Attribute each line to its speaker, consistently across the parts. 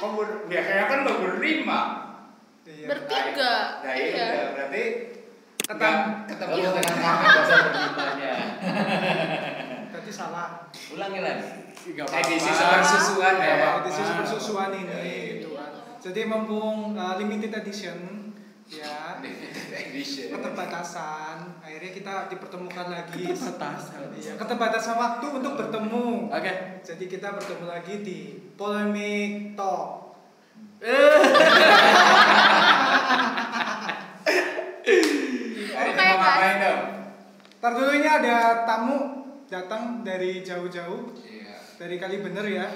Speaker 1: Oh, ber- biasanya kan lo berlima.
Speaker 2: Iya.
Speaker 3: Bertiga.
Speaker 1: Nah, iya.
Speaker 3: Iya.
Speaker 1: udah, Berarti
Speaker 2: Ketem-
Speaker 1: nggak Oh, ketemu
Speaker 4: Iya.
Speaker 1: dengan
Speaker 4: Bahasa berlimanya.
Speaker 2: Tadi salah.
Speaker 4: Ulangi lagi.
Speaker 2: Gak
Speaker 1: edisi
Speaker 4: apa-apa.
Speaker 1: sebersusuan ya.
Speaker 4: Nggak apa-apa.
Speaker 2: edisi super susuan ini
Speaker 4: Iya.
Speaker 2: gitu kan. Jadi mumpung uh, limited edition ya
Speaker 1: Edition.
Speaker 2: keterbatasan akhirnya kita dipertemukan lagi
Speaker 5: Keterbatasan.
Speaker 2: Iya, keterbatasan waktu untuk bertemu
Speaker 5: Oke.
Speaker 2: jadi kita bertemu lagi di polemik talk
Speaker 1: Hari
Speaker 3: Oke,
Speaker 1: ini mau
Speaker 3: Mas.
Speaker 1: ngapain dong?
Speaker 2: ntar dulu ini ada tamu datang dari jauh-jauh
Speaker 1: Iya.
Speaker 2: dari kali bener ya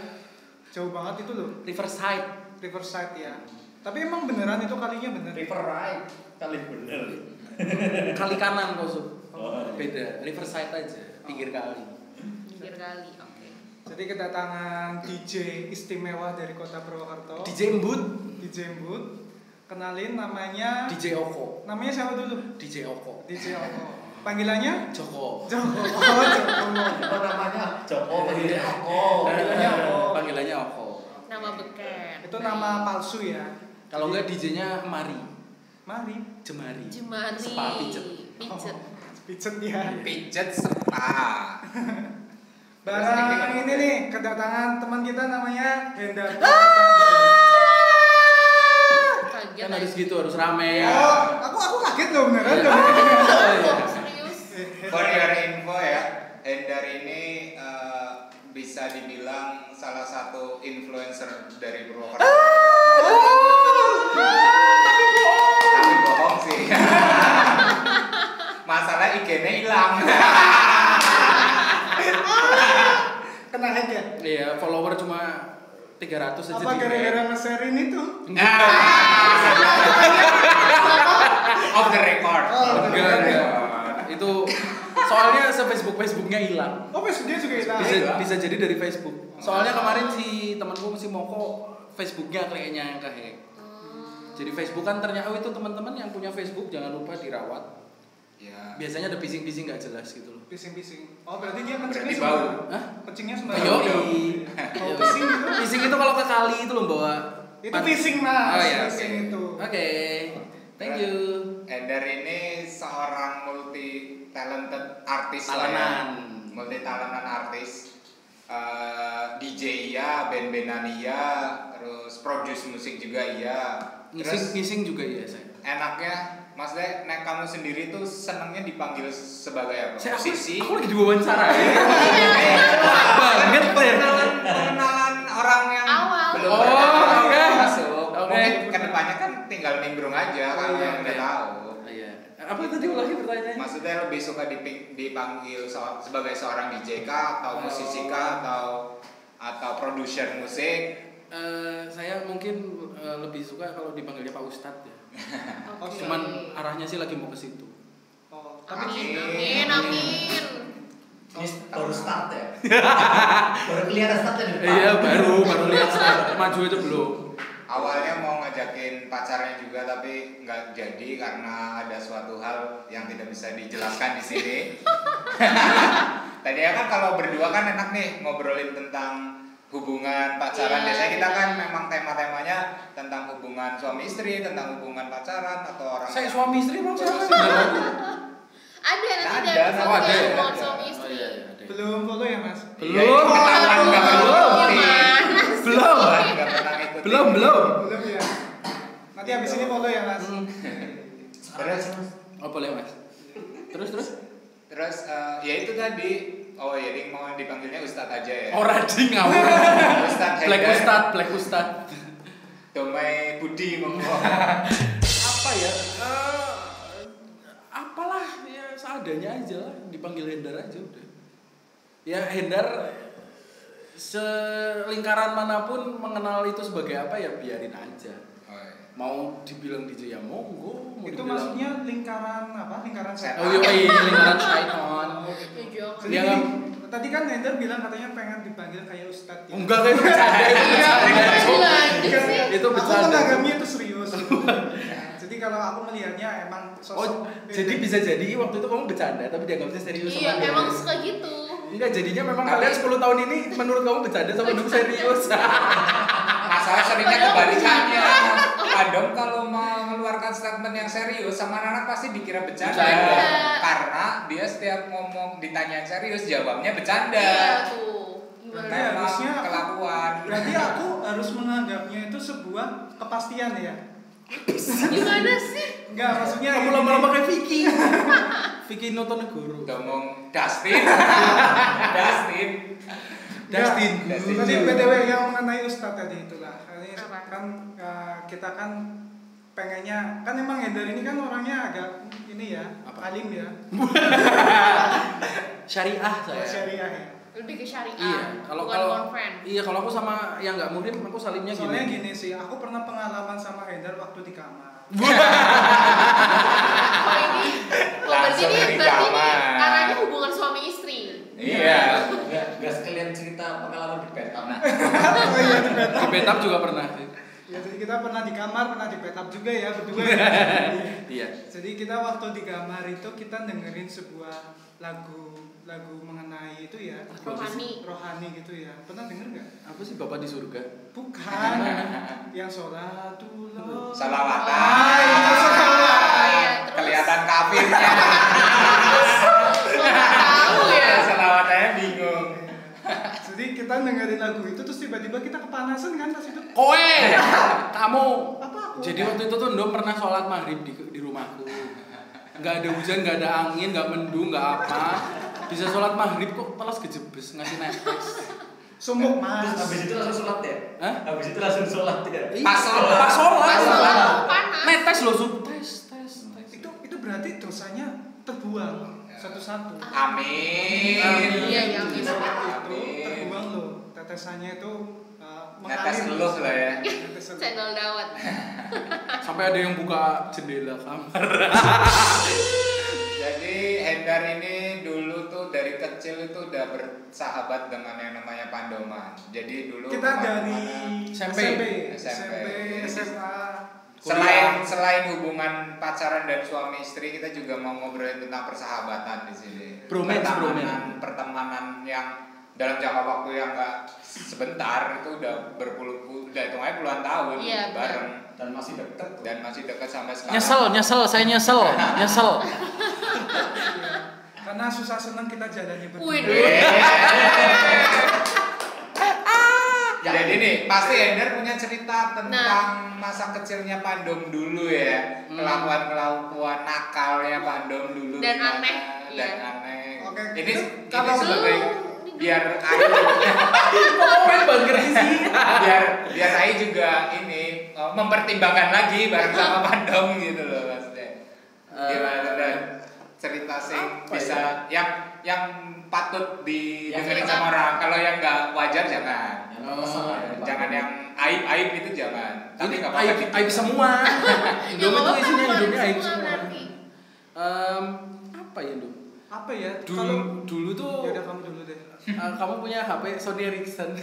Speaker 2: jauh banget itu loh
Speaker 5: Riverside.
Speaker 2: Riverside ya tapi emang beneran itu kalinya bener
Speaker 4: River Ride kali bener.
Speaker 1: Iya.
Speaker 5: Kali kanan kosong.
Speaker 2: iya.
Speaker 4: Oh.
Speaker 5: Beda. Riverside aja. Pinggir kali.
Speaker 3: pinggir kali oke
Speaker 2: jadi kedatangan DJ istimewa dari kota Purwokerto
Speaker 5: DJ Embut.
Speaker 2: DJ Mbut kenalin namanya
Speaker 5: DJ Oko.
Speaker 2: namanya siapa dulu
Speaker 5: DJ Oko.
Speaker 2: DJ Oko panggilannya
Speaker 5: Joko.
Speaker 2: Joko oh, Joko
Speaker 4: Apa namanya?
Speaker 1: Iya.
Speaker 4: Joko Budi
Speaker 2: Oh,
Speaker 4: Joko.
Speaker 2: iya.
Speaker 5: Panggilannya Oko.
Speaker 2: Oko.
Speaker 5: Panggilannya Oko.
Speaker 3: nama beken
Speaker 2: itu nama palsu ya
Speaker 5: Kalau enggak DJ-nya Mari.
Speaker 2: mari
Speaker 5: Jemari.
Speaker 3: jemari
Speaker 5: Spa pijet.
Speaker 3: pijet
Speaker 2: Oh, pijet ya
Speaker 4: Iya.
Speaker 1: Pijet serta.
Speaker 2: barang ini nih kedatangan teman kita namanya Henda
Speaker 3: Ah! kaget
Speaker 5: Kan
Speaker 3: lagi.
Speaker 5: harus gitu, harus rame. Iya.
Speaker 2: oh aku aku kaget loh beneran loh
Speaker 5: Ah!
Speaker 3: Oh, serius
Speaker 1: For your info ya, Hendar ini eh, bisa dibilang salah satu influencer dari Purwokerto. Tapi bohong sih. Masalah IG-nya hilang.
Speaker 2: kena hack ya
Speaker 5: Iya, follower cuma 300 aja.
Speaker 2: apa
Speaker 5: di-
Speaker 2: gara-gara nge-share ini tuh
Speaker 1: Nah, off the record.
Speaker 2: Oh,
Speaker 5: Enggak, enggak. Itu soalnya se-Facebook Facebooknya hilang.
Speaker 2: oh besoknya juga kita
Speaker 5: Bisa
Speaker 2: hack
Speaker 1: hilang.
Speaker 5: bisa jadi dari Facebook. Nah, Soalnya kemarin si temanku si Moko Facebooknya kayaknya yang kehack. Jadi Facebook kan ternyata oh, itu teman-teman yang punya Facebook jangan lupa dirawat.
Speaker 1: Ya.
Speaker 5: Biasanya ada bising-bising nggak jelas gitu loh.
Speaker 2: bising-bising oh berarti dia
Speaker 1: Berarti
Speaker 2: kencingnya
Speaker 1: bau.
Speaker 2: sembarang
Speaker 5: Hah? Oh,
Speaker 2: kencingnya sembarang
Speaker 5: Ayo. iya.
Speaker 2: Kalau bising itu
Speaker 5: Bising itu kalau ke kali itu loh bawa.
Speaker 2: itu bising mas
Speaker 5: Oh, iya,
Speaker 2: bising
Speaker 1: oke.
Speaker 2: itu
Speaker 5: Oke. Thank you.
Speaker 1: Ender ini seorang multi talented artis
Speaker 5: Talentan.
Speaker 1: multi talentan artis Eh, DJ iya, band-bandan iya, terus produce musik juga iya.
Speaker 5: Ngising,
Speaker 1: Terus
Speaker 5: ngising juga ya saya.
Speaker 1: enaknya Mas De, nek kamu sendiri tuh senangnya dipanggil sebagai apa?
Speaker 5: Saya aku,
Speaker 1: Musisi?
Speaker 5: aku lagi diwawancara ya. Banget
Speaker 1: Pengenalan,
Speaker 5: Pak. ya.
Speaker 1: pengenalan orang yang
Speaker 3: Awal.
Speaker 1: belum
Speaker 5: Oh,
Speaker 1: pernah
Speaker 5: oke.
Speaker 1: masuk.
Speaker 5: Oke.
Speaker 1: Mungkin kedepannya kan tinggal nimbrung aja,
Speaker 2: Oh,
Speaker 1: kan
Speaker 2: iya,
Speaker 1: yang udah
Speaker 5: iya.
Speaker 1: tahu.
Speaker 5: Iya. Apa tadi ulangi pertanyaannya?
Speaker 1: Maksudnya lebih suka dipi- dipanggil so- sebagai seorang DJ kah atau
Speaker 5: Oh.
Speaker 1: musisi kah atau atau produser musik?
Speaker 5: Eh, saya mungkin eh, lebih suka kalau dipanggilnya Pak Ustadz ya.
Speaker 3: Oke.
Speaker 5: Cuman arahnya sih lagi mau ke situ.
Speaker 2: oh tapi
Speaker 3: amin
Speaker 1: Amin.
Speaker 3: amin amin
Speaker 4: Ini baru start ya. baru kelihatan startnya di depan.
Speaker 5: Iya, baru baru lihat start. maju aja belum.
Speaker 1: Awalnya mau ngajakin pacarnya juga tapi nggak jadi karena ada suatu hal yang tidak bisa dijelaskan di sini. Tadinya kan kalau berdua kan enak nih ngobrolin tentang hubungan pacaran.
Speaker 3: Iya,
Speaker 1: Biasanya kita
Speaker 3: iya.
Speaker 1: kan memang tema-temanya tentang hubungan suami istri, tentang hubungan pacaran atau orang
Speaker 5: Saya suami istri emang siapa?
Speaker 3: ada nanti
Speaker 1: Ada,
Speaker 3: dari
Speaker 1: sama
Speaker 3: episode
Speaker 1: ada.
Speaker 3: yang suami istri
Speaker 5: iya.
Speaker 2: belum follow ya mas
Speaker 1: Iya,
Speaker 5: Belum.
Speaker 1: ketahuan
Speaker 3: Oh,
Speaker 1: nggak pernah ngikutin.
Speaker 3: gimana sih?
Speaker 5: Belum.
Speaker 1: Nggak pernah ngikutin.
Speaker 5: Belum, belum.
Speaker 2: belum ya nanti habis ini follow ya mas
Speaker 5: Hmm.
Speaker 4: Sekarang sih, Mas.
Speaker 5: Oh, boleh, Mas. Terus terus?
Speaker 1: eh, Terus eh, ya itu tadi. Oh ya, ini mau dipanggilnya Ustadz aja ya.
Speaker 5: Ora di Oh, ngawur.
Speaker 1: Ustadz
Speaker 5: Black
Speaker 1: Haidar,
Speaker 5: Ustadz, eh. Black Ustadz.
Speaker 1: Domai Budi monggo.
Speaker 5: apa ya eh, apalah ya seadanya aja lah dipanggil Hendar aja udah ya Hendar selingkaran manapun mengenal itu sebagai apa ya biarin aja mau dibilang DJ ya monggo mau
Speaker 2: itu
Speaker 5: dibilang-
Speaker 2: maksudnya lingkaran apa lingkaran setan Oh, gitu.
Speaker 5: oh iya iya, lingkaran syaiton
Speaker 3: Ya, jangan.
Speaker 2: Jadi
Speaker 5: Iya,
Speaker 2: gini,
Speaker 5: Kang.
Speaker 2: tadi kan Ender bilang katanya pengen dipanggil kayak Ustadz ya.
Speaker 5: enggak kayak itu bercanda itu
Speaker 3: Iya,
Speaker 5: bercanda
Speaker 3: kok dilanjut
Speaker 2: Kan,
Speaker 3: sih?
Speaker 5: itu
Speaker 2: aku
Speaker 5: bercanda.
Speaker 2: menanggapnya itu serius. Nah, jadi kalau aku melihatnya emang sosok.
Speaker 5: oh jadi bisa jadi waktu itu kamu bercanda tapi dianggapnya serius
Speaker 3: iya
Speaker 5: sama dia.
Speaker 3: emang suka gitu
Speaker 5: Enggak, jadinya memang
Speaker 1: Tapi-
Speaker 3: Iya.
Speaker 5: kalian 10 tahun ini menurut kamu bercanda sama dulu serius.
Speaker 1: Masalah seringnya Adam kalau mau mengeluarkan statement yang serius sama anak pasti dikira bercanda.
Speaker 5: Bercanda.
Speaker 1: Karena dia setiap ngomong ditanya serius jawabnya bercanda.
Speaker 3: Iya tuh. Gimana?
Speaker 2: Iya.
Speaker 1: Memang
Speaker 2: harusnya aku-
Speaker 1: kelakuan.
Speaker 2: Berarti aku harus menganggapnya itu sebuah kepastian ya.
Speaker 3: Gimana sih?
Speaker 2: Enggak, maksudnya
Speaker 5: Iya. Kamu
Speaker 2: ini-
Speaker 5: lama-lama kayak Vicky. Vicky Notonegoro.
Speaker 1: ngomong Dustin. Dustin.
Speaker 5: Dustin.
Speaker 2: Enggak.
Speaker 1: Dustin.
Speaker 2: Tadi BTW yang mengenai Ustadz tadi itulah. Ini
Speaker 3: Apa?
Speaker 2: kan eh, kita kan pengennya kan emang Ender ini kan orangnya agak ini ya,
Speaker 5: Apa?
Speaker 2: alim ya,
Speaker 5: Syariah saya.
Speaker 2: syariah ya.
Speaker 3: Lebih ke syariah.
Speaker 5: Iya, kalau
Speaker 3: bukan
Speaker 5: kalau
Speaker 3: konven.
Speaker 5: iya kalau aku sama yang nggak murim aku salimnya
Speaker 2: Soalnya
Speaker 5: Ya, gini.
Speaker 2: gini sih, aku pernah pengalaman sama Ender waktu di kamar.
Speaker 3: Oh ini, oh berarti
Speaker 1: Langsung
Speaker 3: ini
Speaker 1: dari
Speaker 3: berarti ini
Speaker 1: kamar.
Speaker 3: arahnya hubungan suami istri.
Speaker 1: Iya.
Speaker 4: Nggak nggak sekalian cerita pengalaman di Vietnam. Nah,
Speaker 2: oh iya di
Speaker 5: Di
Speaker 2: betap.
Speaker 5: Betap juga pernah.
Speaker 2: Ya, jadi kita pernah di kamar, pernah di betap juga ya berdua. ya.
Speaker 5: Iya.
Speaker 2: jadi kita waktu di kamar itu kita dengerin sebuah lagu lagu mengenai itu ya
Speaker 3: Rohani.
Speaker 2: rohani gitu ya. Pernah denger nggak?
Speaker 5: Apa sih Bapak di surga?
Speaker 2: Bukan yang sholatullah.
Speaker 1: Salawatan.
Speaker 2: Ah, itu
Speaker 3: Oh,
Speaker 2: sholat.
Speaker 3: iya, terus
Speaker 1: Kelihatan kafirnya.
Speaker 3: Kok Oh, nggak tahu ya.
Speaker 1: Salawatannya bingung.
Speaker 2: Jadi kita dengerin lagu itu terus tiba-tiba kita kepanasan kan pas itu.
Speaker 5: Kowe, kamu.
Speaker 2: Apa aku?
Speaker 5: Jadi waktu itu tuh Ndom pernah sholat maghrib di, di rumahku. Nggak ada hujan, nggak ada angin, nggak mendung, nggak apa. Bisa sholat maghrib kok telas kejebes ngasih Netflix.
Speaker 2: Sumuk
Speaker 4: Terus
Speaker 2: mas.
Speaker 4: habis itu langsung sholat ya?
Speaker 5: Hah?
Speaker 4: Habis itu langsung sholat ya?
Speaker 5: Iya,
Speaker 1: Pas sholat.
Speaker 5: pas sholat.
Speaker 3: Pas sholat kok panas.
Speaker 5: Netes loh, sup. Tes, tes, tes.
Speaker 2: Itu itu berarti dosanya terbuang satu-satu.
Speaker 1: Ah,
Speaker 3: Iya,
Speaker 1: Amin.
Speaker 3: iya, amin.
Speaker 2: Itu terbuang loh tetesannya itu uh,
Speaker 1: Netes lulus lah ya.
Speaker 2: Netes lelus.
Speaker 3: Channel dawet.
Speaker 5: Sampai ada yang buka jendela kamar.
Speaker 1: Jadi Hendar ini dulu tuh dari kecil itu udah bersahabat dengan yang namanya Pandoman. Jadi dulu
Speaker 2: Kita dari
Speaker 1: kemana-mana-
Speaker 5: SMP.
Speaker 2: SMP,
Speaker 1: SMP,
Speaker 2: SMA.
Speaker 1: selain selain hubungan pacaran dan suami istri kita juga mau ngobrolin tentang persahabatan di sini.
Speaker 5: Bromance,
Speaker 1: pertemanan,
Speaker 5: bromance.
Speaker 1: pertemanan yang dalam jangka waktu yang enggak sebentar itu udah berpuluh udah hitungannya puluhan tahun
Speaker 3: Iya, benar.
Speaker 1: bareng
Speaker 4: Dan masih deket
Speaker 1: dan masih dekat sampai sekarang.
Speaker 5: Nyesel, nyesel, saya nyesel, nyesel.
Speaker 2: Iya. Karena susah senang kita jalannya berdua.
Speaker 3: Wih, dulu.
Speaker 1: Eh.
Speaker 4: Ya.
Speaker 1: Jadi nih, pasti Ender punya cerita
Speaker 3: Nah.
Speaker 1: tentang masa kecilnya Pandom dulu ya.
Speaker 5: Hmm.
Speaker 1: Kelakuan-kelakuan nakalnya Pandom dulu.
Speaker 3: Dan
Speaker 1: gimana,
Speaker 3: aneh, iya.
Speaker 1: Dan aneh.
Speaker 2: Oke,
Speaker 1: Ini,
Speaker 2: itu
Speaker 1: ini
Speaker 2: kalau
Speaker 1: sebagai
Speaker 3: dulu-
Speaker 1: biar Ai
Speaker 5: Komen banget sih.
Speaker 1: biar biar Ai juga ini eh, mempertimbangkan lagi bareng sama Pandom gitu loh maksudnya. Gimana
Speaker 5: Eh.
Speaker 1: dan cerita sih
Speaker 5: Apa
Speaker 1: bisa yang yang patut didengerin
Speaker 3: Yang
Speaker 1: sama
Speaker 3: relate.
Speaker 1: orang. Kalau yang nggak wajar jangan. Eh,
Speaker 4: Yang nggak masalah ya, Pak.
Speaker 1: jangan yang aib aib itu jangan.
Speaker 5: Ini
Speaker 1: Tapi nggak apa-apa.
Speaker 5: aib, aib semua.
Speaker 3: Ya
Speaker 5: Indom
Speaker 3: nggak
Speaker 5: itu
Speaker 3: apa-apa,
Speaker 5: Iya, isinya
Speaker 3: bukan
Speaker 5: hidupnya aib
Speaker 3: semua
Speaker 5: semua.
Speaker 3: berarti.
Speaker 5: Em, apa ya Indom?
Speaker 2: Apa ya?
Speaker 5: Dulu,
Speaker 2: Kalau
Speaker 5: dulu tuh
Speaker 2: ya udah kamu dulu deh.
Speaker 5: eh, kamu punya HP Sony Ericsson.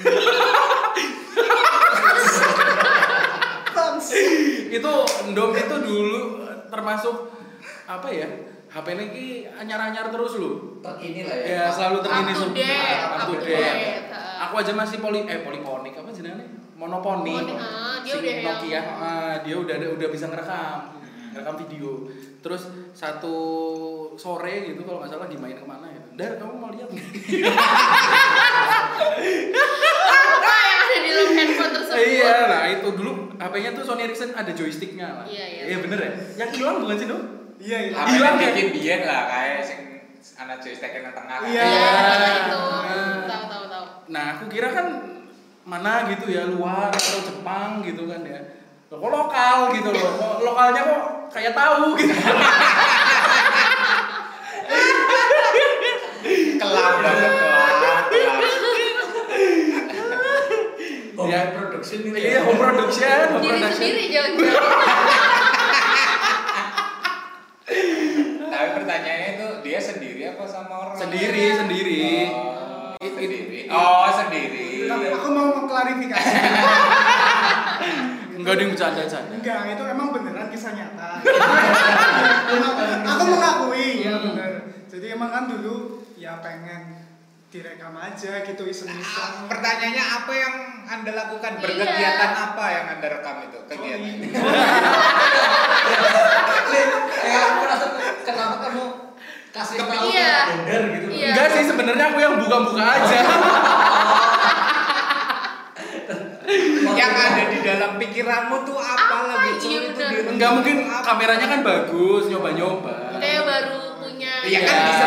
Speaker 5: itu Indom itu dulu eh, termasuk apa ya? HP ini ki anyar-anyar terus loh.
Speaker 4: Terkini lah ya.
Speaker 5: Ya selalu terkini
Speaker 3: Up to
Speaker 5: semua.
Speaker 3: date,
Speaker 5: Up to
Speaker 3: up to
Speaker 5: date.
Speaker 3: date, ah.
Speaker 5: Aku aja masih poli eh poliponik apa jenenge? Monoponi.
Speaker 3: Monoponi, ah, dia
Speaker 5: Si
Speaker 3: udah yang-
Speaker 5: Nokia, ah, dia udah ada- udah bisa ngerekam, ngerekam video. Terus satu sore gitu kalau nggak salah dimain kemana gitu. Dar kamu mau lihat nggak?
Speaker 3: Apa yang ada di dalam handphone tersebut?
Speaker 5: iya lah itu dulu HP-nya tuh Sony Ericsson ada joysticknya lah.
Speaker 3: Iya, iya.
Speaker 5: bener ya. Yang hilang bukan sih dong?
Speaker 2: Iya, iya.
Speaker 1: Apa
Speaker 5: Hilang
Speaker 1: yang
Speaker 5: ya?
Speaker 1: bikin biyen lah kayak sing anak joystick yang tengah.
Speaker 2: Iya.
Speaker 3: Iya,
Speaker 5: Iya.
Speaker 3: itu.
Speaker 5: Ah.
Speaker 3: Tahu, tahu, tahu.
Speaker 5: Nah, aku kira kan mana gitu ya luar atau Jepang gitu kan ya. Loh, kok lokal gitu loh. Kok lokalnya kok kayak tahu gitu.
Speaker 1: Kelam banget kelam. kelam.
Speaker 4: Home
Speaker 5: Ya.
Speaker 4: production gitu
Speaker 5: Iya, home production, home
Speaker 3: Diri
Speaker 5: production.
Speaker 3: sendiri jangan-jangan.
Speaker 1: Tapi Nah, pertanyaannya itu dia sendiri apa sama orang?
Speaker 5: Sendiri, sendiri.
Speaker 1: Oh,
Speaker 5: It- it-
Speaker 1: sendiri.
Speaker 5: it-
Speaker 1: Oh, sendiri.
Speaker 2: Tapi aku mau mengklarifikasi.
Speaker 5: Enggak ada yang bercanda-canda.
Speaker 2: Enggak, itu emang beneran kisah nyata.
Speaker 5: Iya,
Speaker 2: Gitu. aku mengakui, ya bener. Jadi emang kan dulu ya pengen direkam aja gitu iseng-iseng.
Speaker 1: Ah, pertanyaannya apa yang anda lakukan
Speaker 3: Iya.
Speaker 1: berkegiatan apa yang anda rekam itu kegiatan
Speaker 2: Sorry.
Speaker 4: Kayak aku rasa kenapa kamu kasih tahu
Speaker 3: Iya.
Speaker 4: ke Tinder gitu.
Speaker 3: Iya.
Speaker 5: Enggak sih sebenarnya aku yang buka-buka aja.
Speaker 4: Waktu
Speaker 1: yang
Speaker 4: itu-
Speaker 1: ada di dalam pikiranmu tuh apa,
Speaker 3: Apa?
Speaker 1: lagi
Speaker 3: Iya,
Speaker 1: sulit tuh
Speaker 3: bener.
Speaker 1: direnung.
Speaker 5: Enggak mungkin kameranya kan bagus, nyoba-nyoba.
Speaker 3: Kayak baru punya.
Speaker 1: Iya kan
Speaker 5: Iya.
Speaker 1: bisa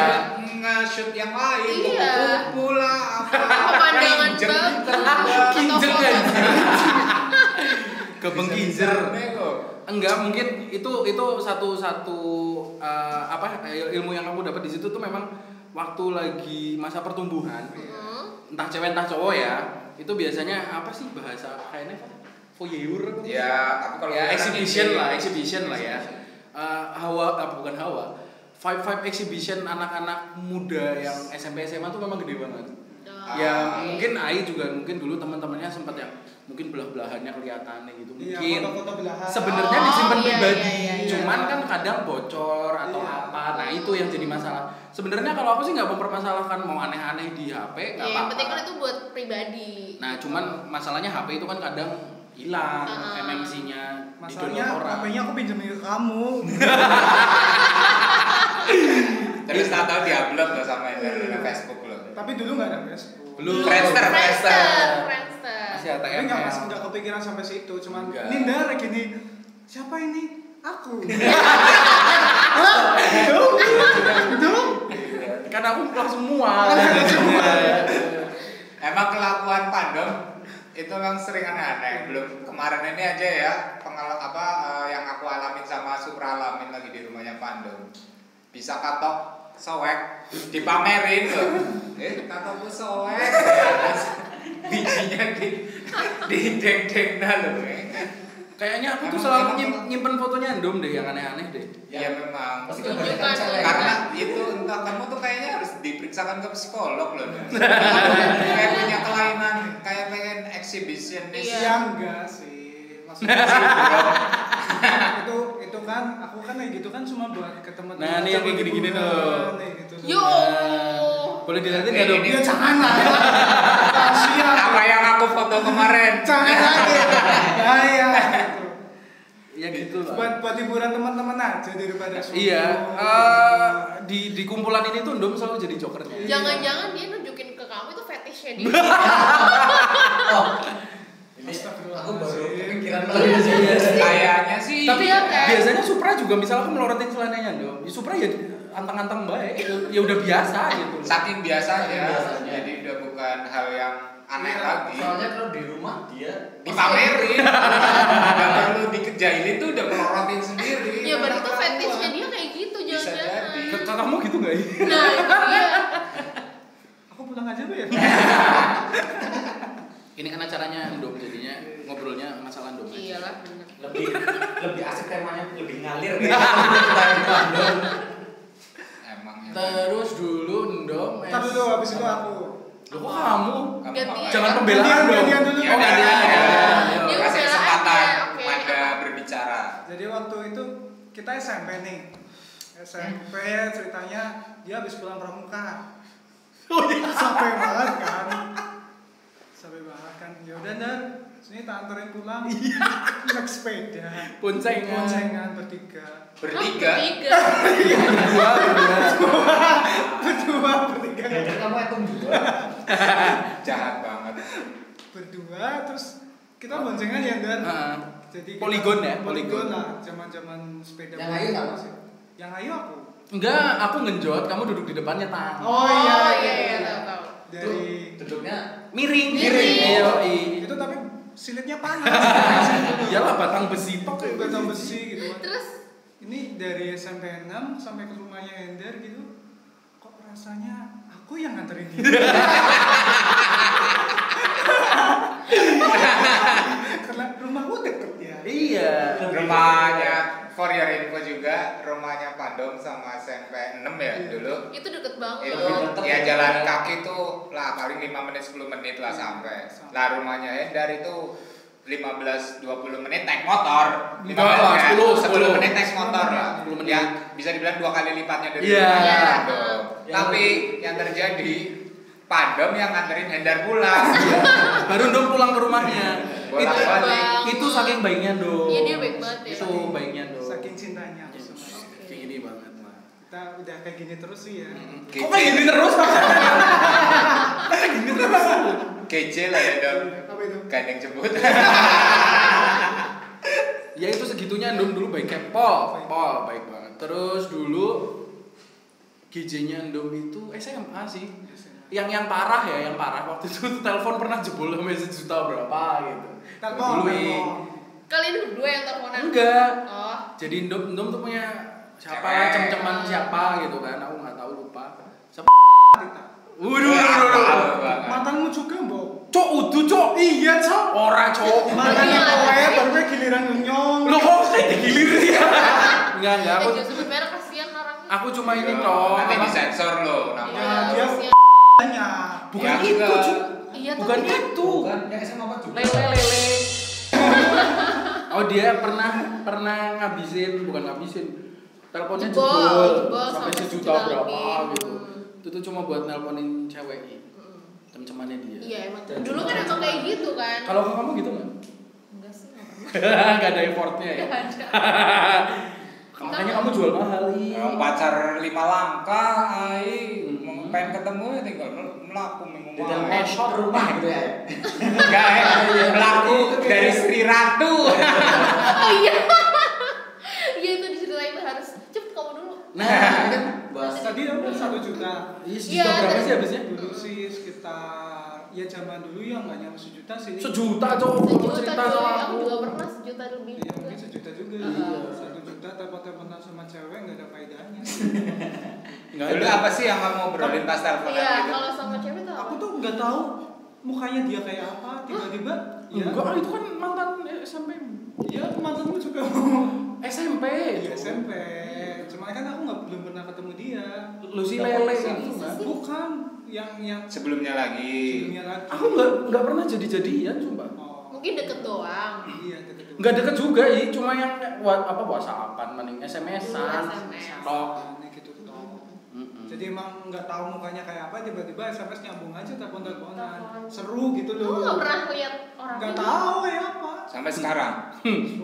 Speaker 1: nge-shoot yang lain,
Speaker 3: Iya.
Speaker 1: kupu-kupu lah, apa gitu kan.
Speaker 3: Pemandangan
Speaker 1: kinjer,
Speaker 3: bagus.
Speaker 1: terbang.
Speaker 5: Kinjer
Speaker 3: Atau-
Speaker 5: kan.
Speaker 1: Bisa-bisa
Speaker 5: Kebeng kinjer.
Speaker 1: bego.
Speaker 5: Enggak, mungkin itu itu satu satu eh, apa il- ilmu yang kamu dapat di situ tuh memang waktu lagi masa pertumbuhan.
Speaker 3: Hmm.
Speaker 5: Entah cewek entah cowok ya. Itu biasanya apa sih bahasa kayaknya apa? Voyeur apa?
Speaker 1: Ya, tapi kalau
Speaker 5: ya
Speaker 1: orang
Speaker 5: exhibition
Speaker 1: ini-
Speaker 5: lah, exhibition lah ya. Eh, hawa apa bukan hawa. Vibe vibe exhibition anak-anak muda yang SMP SMA tuh memang gede banget.
Speaker 3: Dah.
Speaker 5: Ya
Speaker 1: Ah.
Speaker 5: mungkin Ai juga mungkin dulu teman-temannya sempat yang mungkin belah-belahannya kelihatannya gitu
Speaker 2: Iya,
Speaker 5: mungkin.
Speaker 2: foto-foto belahan.
Speaker 5: Sebenarnya
Speaker 3: Oh,
Speaker 5: disimpan
Speaker 3: iya,
Speaker 5: pribadi,
Speaker 3: iya, iya, iya.
Speaker 5: cuman kan kadang bocor atau
Speaker 2: Iya.
Speaker 5: apa. Nah itu yang jadi masalah. Sebenarnya kalau aku sih nggak mempermasalahkan mau aneh-aneh di HP nggak
Speaker 3: Ya, yang penting
Speaker 5: apa-apa.
Speaker 3: kan itu buat pribadi.
Speaker 5: Nah cuman masalahnya HP itu kan kadang hilang
Speaker 3: Ah.
Speaker 5: MMC-nya di
Speaker 2: Masalahnya
Speaker 5: orang.
Speaker 2: HP-nya aku pinjemin ke kamu.
Speaker 1: Terus tak tahu diupload loh sama internet Facebook loh.
Speaker 2: Tapi dulu nggak ada Facebook.
Speaker 3: Iya.
Speaker 5: Belum.
Speaker 1: Friendster, Friendster.
Speaker 3: Friendster.
Speaker 5: Masih ATM.
Speaker 2: Tapi nggak masih nggak kepikiran sampai situ. Cuman
Speaker 5: Nggak.
Speaker 2: Linda gini, siapa ini? Aku.
Speaker 5: Iya, Karena aku pulang semua.
Speaker 3: Iya,
Speaker 1: Emang kelakuan pandem itu memang sering aneh-aneh. Belum kemarin ini aja ya pengalaman apa eh, yang aku alamin sama Supra alamin lagi di rumahnya pandem. Bisa katok sowek dipamerin loh. Eh katokku sowek. Terus bijinya di di deng deng loh. eh.
Speaker 5: Kayaknya aku tuh
Speaker 1: Emang-
Speaker 5: selalu
Speaker 1: emang-
Speaker 5: nyim- nyimpen fotonya Endom deh yang aneh-aneh deh.
Speaker 1: Iya memang.
Speaker 4: Pasti
Speaker 3: Tunjukkan.
Speaker 4: kebanyakan cewek.
Speaker 1: karena itu entah kamu tuh kayaknya harus diperiksakan ke psikolog loh Dan. kayak punya kelainan kayak pengen exhibitionist
Speaker 3: Iya.
Speaker 2: Ya enggak sih. Maksudnya sih, bro. itu itu kan aku kan kayak gitu kan cuma buat ke gitu teman
Speaker 5: Nah, ini yang kayak gini-gini
Speaker 2: kan,
Speaker 5: tuh.
Speaker 3: Yo.
Speaker 5: Iya. Boleh dilihatin
Speaker 1: Kayak
Speaker 5: nggak Dom?
Speaker 1: gini.
Speaker 2: Ya gitu. jangan lah. Kasihan.
Speaker 1: apa yang aku foto kemarin
Speaker 2: Jangan lagi. Bahaya. gitu.
Speaker 5: Ya gitu lah.
Speaker 2: Buat buat hiburan teman-teman aja daripada solo.
Speaker 5: Iya. eh, di di kumpulan ini tuh Endom selalu jadi jokernya.
Speaker 3: Jangan-jangan dia nunjukin ke kamu itu fetishnya dia.
Speaker 4: Oh. Ini aku baru kepikiran lagi sih.
Speaker 1: kayaknya sih
Speaker 5: Tapi
Speaker 3: Iya, kan?
Speaker 5: biasanya Supra juga misalnya aku melorotin celananya Endom. Ya, Supra ya antang-antang baik. Ya udah biasa gitu.
Speaker 1: saking biasanya
Speaker 4: Saking biasanya.
Speaker 1: jadi udah bukan hal yang aneh lagi
Speaker 4: Soalnya kalau di rumah dia
Speaker 1: dipamerin nggak perlu dikejain itu udah melorotin sendiri
Speaker 3: Ya berarti itu
Speaker 1: Orang
Speaker 3: fetishnya
Speaker 1: tua.
Speaker 3: dia kayak gitu
Speaker 1: Bisa
Speaker 3: jangan-jangan.
Speaker 5: Ke, ke kamu gitu nggak ya?
Speaker 3: Nah, iya.
Speaker 2: Aku pulang aja Bu ya.
Speaker 5: Ini kan acaranya Endom jadinya ngobrolnya masalah Endom. aja.
Speaker 3: Iyalah benar.
Speaker 4: lebih lebih asik temanya lebih ngalir kayaknya.
Speaker 1: emang ya. emang.
Speaker 5: Terus dulu Endom.
Speaker 2: Ntar dulu habis itu aku.
Speaker 5: Loh kok kamu?
Speaker 1: Kamu
Speaker 3: Gantian.
Speaker 1: ngapain?
Speaker 5: Jangan pembelaan
Speaker 2: Gantian,
Speaker 5: dong.
Speaker 2: gantian dulu.
Speaker 1: Ya, gantian,
Speaker 5: gantian. Iya,
Speaker 1: gantian.
Speaker 5: Ayo.
Speaker 3: Yuk.
Speaker 1: kasih
Speaker 3: pembelaan
Speaker 1: kesempatan
Speaker 3: ya, oke.
Speaker 1: kepada berbicara
Speaker 2: Jadi waktu itu kita SMP nih. SMP ceritanya dia habis pulang pramuka.
Speaker 5: Oh, iya.
Speaker 2: Sampai banget kan. Sampai banget kan. Ya udah dan sini tak anterin pulang. Naik sepeda.
Speaker 5: Iya. Boncengan.
Speaker 2: Boncengan bertiga.
Speaker 1: bertiga
Speaker 3: Oh, bertiga.
Speaker 5: iya. Berdua, berdua.
Speaker 2: Berdua bertiga.
Speaker 5: Iya.
Speaker 4: Gak ada kamu itu dua.
Speaker 1: jahat banget
Speaker 2: Berdua terus kita boncengan ya dan.
Speaker 5: Heeh.
Speaker 2: Jadi kita-
Speaker 5: Poligon ya, poligon.
Speaker 2: poligon lah zaman-zaman sepeda.
Speaker 4: Yang ayu kamu sih?
Speaker 2: Yang ayu aku.
Speaker 5: Enggak, aku ngenjot, kamu duduk di depannya tang.
Speaker 2: Oh, iya,
Speaker 3: Oh,
Speaker 2: iya,
Speaker 3: iya iya
Speaker 2: iya.
Speaker 3: tahu tahu.
Speaker 4: Tuh,
Speaker 2: Dari
Speaker 4: duduknya
Speaker 5: Miring,
Speaker 3: Miring.
Speaker 5: Iya, iya.
Speaker 2: itu tapi silitnya panas
Speaker 5: Iyalah batang besi tok.
Speaker 2: Kayak batang besi gitu kan
Speaker 3: Terus
Speaker 2: ini dari SMP 6 sampai ke rumahnya Ender gitu kok rasanya aku yang nganterin dia karena rumahku deket ya
Speaker 5: Iya.
Speaker 1: rumahnya for your info juga rumahnya Pandom sama SMP 6 ya dulu
Speaker 3: itu deket banget.
Speaker 1: itu
Speaker 4: Lebih deket
Speaker 1: ya
Speaker 4: ya.
Speaker 1: jalan kaki tuh lah paling 5 menit 10 menit lah sampai lah rumahnya Hendar itu 15 20 menit naik motor 15
Speaker 5: Enggak lah,
Speaker 1: menit,
Speaker 5: 10,
Speaker 1: 10
Speaker 5: 10.
Speaker 1: menit naik motor lah
Speaker 5: 10 menit.
Speaker 1: ya bisa dibilang dua kali lipatnya dari
Speaker 5: Iya.
Speaker 1: rumahnya Pandom.
Speaker 3: Iya.
Speaker 1: tapi yang terjadi pandem yang nganterin Hendar pulang.
Speaker 5: baru dong pulang ke rumahnya
Speaker 1: Bolak
Speaker 5: itu,
Speaker 1: balik.
Speaker 5: itu saking baiknya dong
Speaker 3: Iya, dia baik banget ya.
Speaker 5: itu baiknya dong
Speaker 2: Saking cintanya aku
Speaker 5: Yes,
Speaker 2: sama dia.
Speaker 5: kayak gini banget mah
Speaker 2: Kita udah kayak gini terus sih ya.
Speaker 5: kok kayak gini terus gini terus
Speaker 1: Kece lah ya dong.
Speaker 2: Apa itu?
Speaker 1: Gandeng jemput.
Speaker 5: ya itu segitunya Andum dulu baik Pol Pol baik banget terus dulu GJ-nya Andum itu SMA sih yang yang parah ya yang parah waktu itu telepon pernah jebol sama sejuta berapa gitu
Speaker 2: Telepon,
Speaker 5: Dulu, eh.
Speaker 2: telepon.
Speaker 3: Kalian berdua yang teleponan?
Speaker 5: enggak
Speaker 3: Oh,
Speaker 5: jadi Indom Indom tuh punya
Speaker 1: Cewek.
Speaker 5: siapa cem-ceman siapa gitu kan aku nggak tahu lupa siapa
Speaker 2: Tita.
Speaker 5: waduh waduh waduh
Speaker 2: Mantanmu juga, Mbok.
Speaker 5: cok udu cok
Speaker 2: Iya, Cok.
Speaker 5: orang cok
Speaker 2: Mantan
Speaker 3: Iya.
Speaker 2: kowe baru gue giliran nyong.
Speaker 5: lo kok saya digilir sih enggak enggak
Speaker 3: aku
Speaker 5: aku Ah,
Speaker 3: sebut merek kasihan orangnya.
Speaker 5: aku cuma ini cok
Speaker 1: Nanti
Speaker 5: apa-
Speaker 1: disensor loh
Speaker 3: Iya,
Speaker 1: namanya.
Speaker 2: dia
Speaker 3: kasihan.
Speaker 2: Tanya.
Speaker 5: bukan
Speaker 1: Ya,
Speaker 5: itu
Speaker 1: enggak.
Speaker 5: cok
Speaker 3: Iya,
Speaker 5: bukan
Speaker 3: tapi kan-
Speaker 5: itu
Speaker 4: yang SMA apa juga?
Speaker 5: lele lele oh dia pernah pernah ngabisin bukan ngabisin teleponnya
Speaker 3: Jebol,
Speaker 5: jebol
Speaker 3: jebol
Speaker 5: sampai
Speaker 3: sampai
Speaker 5: sejuta
Speaker 3: sejuta
Speaker 5: berapa
Speaker 3: lebih.
Speaker 5: gitu
Speaker 3: Hmm.
Speaker 5: itu tuh cuma buat nelponin cewek
Speaker 3: Mm.
Speaker 5: teman-temannya dia.
Speaker 3: Iya emang. Dulu kan emang kayak gitu kan.
Speaker 5: Kalau ke kamu gitu nggak?
Speaker 3: enggak sih enggak pernah.
Speaker 5: Gak ada effortnya ya.
Speaker 3: Enggak ada. kan
Speaker 5: Makanya kamu jual mahal iya. Li.
Speaker 1: Ya, pacar lima langkah, ai,
Speaker 5: Hmm.
Speaker 1: mau pengen ketemu ya tinggal mel- melaku
Speaker 4: Di
Speaker 1: minggu
Speaker 4: dalam
Speaker 1: malam.
Speaker 4: shop rumah gitu ya.
Speaker 1: Enggak, eh, melaku dari Sri Ratu.
Speaker 3: Oh iya. Iya itu diceritain harus cepet kamu dulu.
Speaker 5: Nah, kan bahasa.
Speaker 2: Tadi udah satu juta.
Speaker 5: Iya,
Speaker 3: Iya,
Speaker 5: sejuta berapa
Speaker 3: tadi-
Speaker 5: sih habisnya?
Speaker 2: Dulu sih sekitar ya zaman dulu ya nggak nyampe sejuta sih.
Speaker 5: Sejuta cowok kamu
Speaker 3: Sejuta
Speaker 5: cerita
Speaker 3: juga,
Speaker 5: sama
Speaker 3: aku
Speaker 5: aku.
Speaker 3: juga pernah sejuta lebih
Speaker 2: Ya
Speaker 3: juga.
Speaker 2: mungkin sejuta juga.
Speaker 5: Iya.
Speaker 2: Satu juta telepon-teleponan sama cewek nggak ada faedahnya.
Speaker 5: Nggak
Speaker 1: Dulu
Speaker 5: ada.
Speaker 1: apa sih yang kamu obrolin pas teleponan
Speaker 3: Iya,
Speaker 1: gitu?
Speaker 3: kalau sama cewek tuh
Speaker 2: Aku
Speaker 3: apa?
Speaker 2: tuh nggak tahu mukanya dia kayak apa tiba-tiba. Ya,
Speaker 5: Enggak, itu kan mantan SMP. Iya,
Speaker 2: ya mantanmu juga.
Speaker 5: SMP.
Speaker 2: Iya SMP. Cuman kan aku nggak belum pernah ketemu dia.
Speaker 5: Lu sih lele
Speaker 1: Bisa.
Speaker 5: itu kan.
Speaker 2: Bukan yang yang
Speaker 1: Sebelumnya lagi.
Speaker 2: sebelumnya lagi.
Speaker 5: Aku nggak nggak pernah jadi-jadian sumpah.
Speaker 2: Oh,
Speaker 3: Mungkin deket doang.
Speaker 2: Iya deket-deket.
Speaker 5: Nggak deket juga ya, cuma yang wa- apa whatsappan mending
Speaker 3: Dulu
Speaker 5: SMS-an.
Speaker 3: SMS.
Speaker 5: Tok.
Speaker 2: Nah, gitu tok.
Speaker 3: Hmm.
Speaker 5: Mm-mm.
Speaker 2: Jadi emang nggak tahu mukanya kayak apa tiba-tiba SMS nyambung aja telepon teleponan
Speaker 3: Telepon.
Speaker 2: seru gitu
Speaker 3: Kamu
Speaker 2: loh.
Speaker 3: nggak pernah lihat orangnya?
Speaker 2: Nggak tahu ya apa.
Speaker 1: Sampai sekarang.